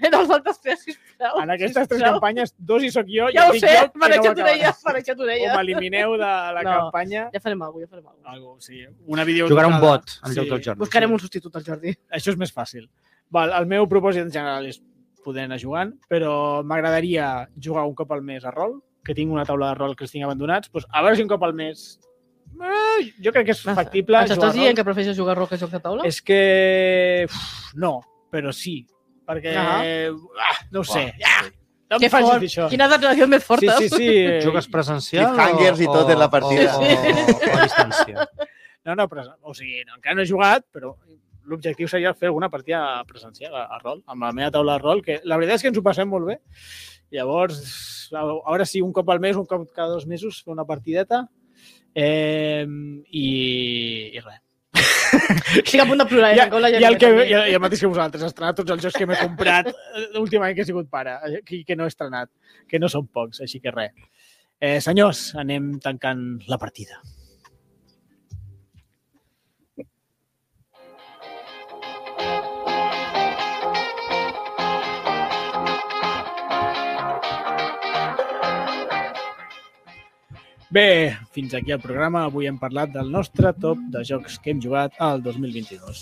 [SPEAKER 2] Però els altres tres, sisplau.
[SPEAKER 1] En aquestes tres
[SPEAKER 2] sisplau.
[SPEAKER 1] campanyes, dos hi sóc jo i
[SPEAKER 2] Ja ho
[SPEAKER 1] estic
[SPEAKER 2] sé,
[SPEAKER 1] jo que
[SPEAKER 2] m'ha
[SPEAKER 1] no ho
[SPEAKER 2] deixat
[SPEAKER 1] acabaré.
[SPEAKER 2] orella, m'ha deixat
[SPEAKER 1] O
[SPEAKER 2] orella.
[SPEAKER 1] m'elimineu de la
[SPEAKER 2] No.
[SPEAKER 1] campanya.
[SPEAKER 2] Ja farem alguna cosa, ja farem alguna cosa.
[SPEAKER 1] Algo, sí. Una vídeo
[SPEAKER 4] Jugarà un bot en lloc
[SPEAKER 1] Doncs
[SPEAKER 4] del Jordi.
[SPEAKER 2] Buscarem un substitut al Jordi.
[SPEAKER 1] Això és més fàcil. Val, el meu propòsit en general és poder anar jugant, però m'agradaria jugar un cop al mes a rol, que tinc una taula de rol que els tinc abandonats. Doncs a veure si un cop al mes... Eh, jo crec que és factible
[SPEAKER 2] Ens
[SPEAKER 1] jugar a
[SPEAKER 2] estàs
[SPEAKER 1] rol.
[SPEAKER 2] dient que prefereixes jugar a rock a joc de taula?
[SPEAKER 1] És que... Uf, no, però sí. Perquè... Ah, no ho sé. Ah, no em
[SPEAKER 2] Que
[SPEAKER 1] facis
[SPEAKER 2] fort.
[SPEAKER 1] dir això.
[SPEAKER 2] Quina declaració més
[SPEAKER 1] Sí,
[SPEAKER 2] forta.
[SPEAKER 1] sí, sí.
[SPEAKER 4] Jugues presencial
[SPEAKER 3] Cliffhangers i tot en la partida.
[SPEAKER 4] O, o, o, a distància.
[SPEAKER 1] No, no, però, o sigui, no, encara no he jugat, però l'objectiu seria fer alguna partida presencial a, a rol, amb la meva taula de rol, que la veritat és que ens ho passem molt bé. Llavors, a a veure si un cop al mes, un cop cada dos mesos, fer una partideta eh, i, i res.
[SPEAKER 2] Estic a punt de plorar, eh?
[SPEAKER 1] Ja-
[SPEAKER 2] Tanco la
[SPEAKER 1] I el, que,
[SPEAKER 2] llaveta.
[SPEAKER 1] i, el, i el mateix que vosaltres, estrenar tots els jocs que m'he comprat eh, l'últim any que he sigut pare, eh, que, que no he estrenat, que no són pocs, així que res. Eh, senyors, anem tancant la partida. Bé, fins aquí el programa. Avui hem parlat del nostre top de jocs que hem jugat al 2022.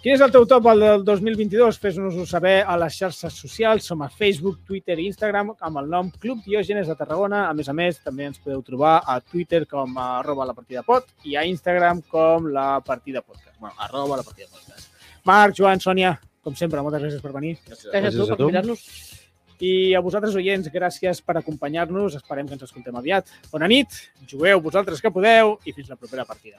[SPEAKER 1] Quin és el teu top al del 2022? Fes-nos-ho saber a les xarxes socials. Som a Facebook, Twitter i Instagram amb el nom Club Diògenes de Tarragona. A més a més, també ens podeu trobar a Twitter com a arroba la partida pot i a Instagram com la partida podcast. Bueno, arroba la partida podcast. Marc, Joan, Sònia, com sempre, moltes gràcies per venir.
[SPEAKER 2] Gràcies a tu per mirar-nos.
[SPEAKER 1] I a vosaltres, oients, gràcies per acompanyar-nos. Esperem que ens escoltem aviat. Bona nit, jugueu vosaltres que podeu i fins la propera partida.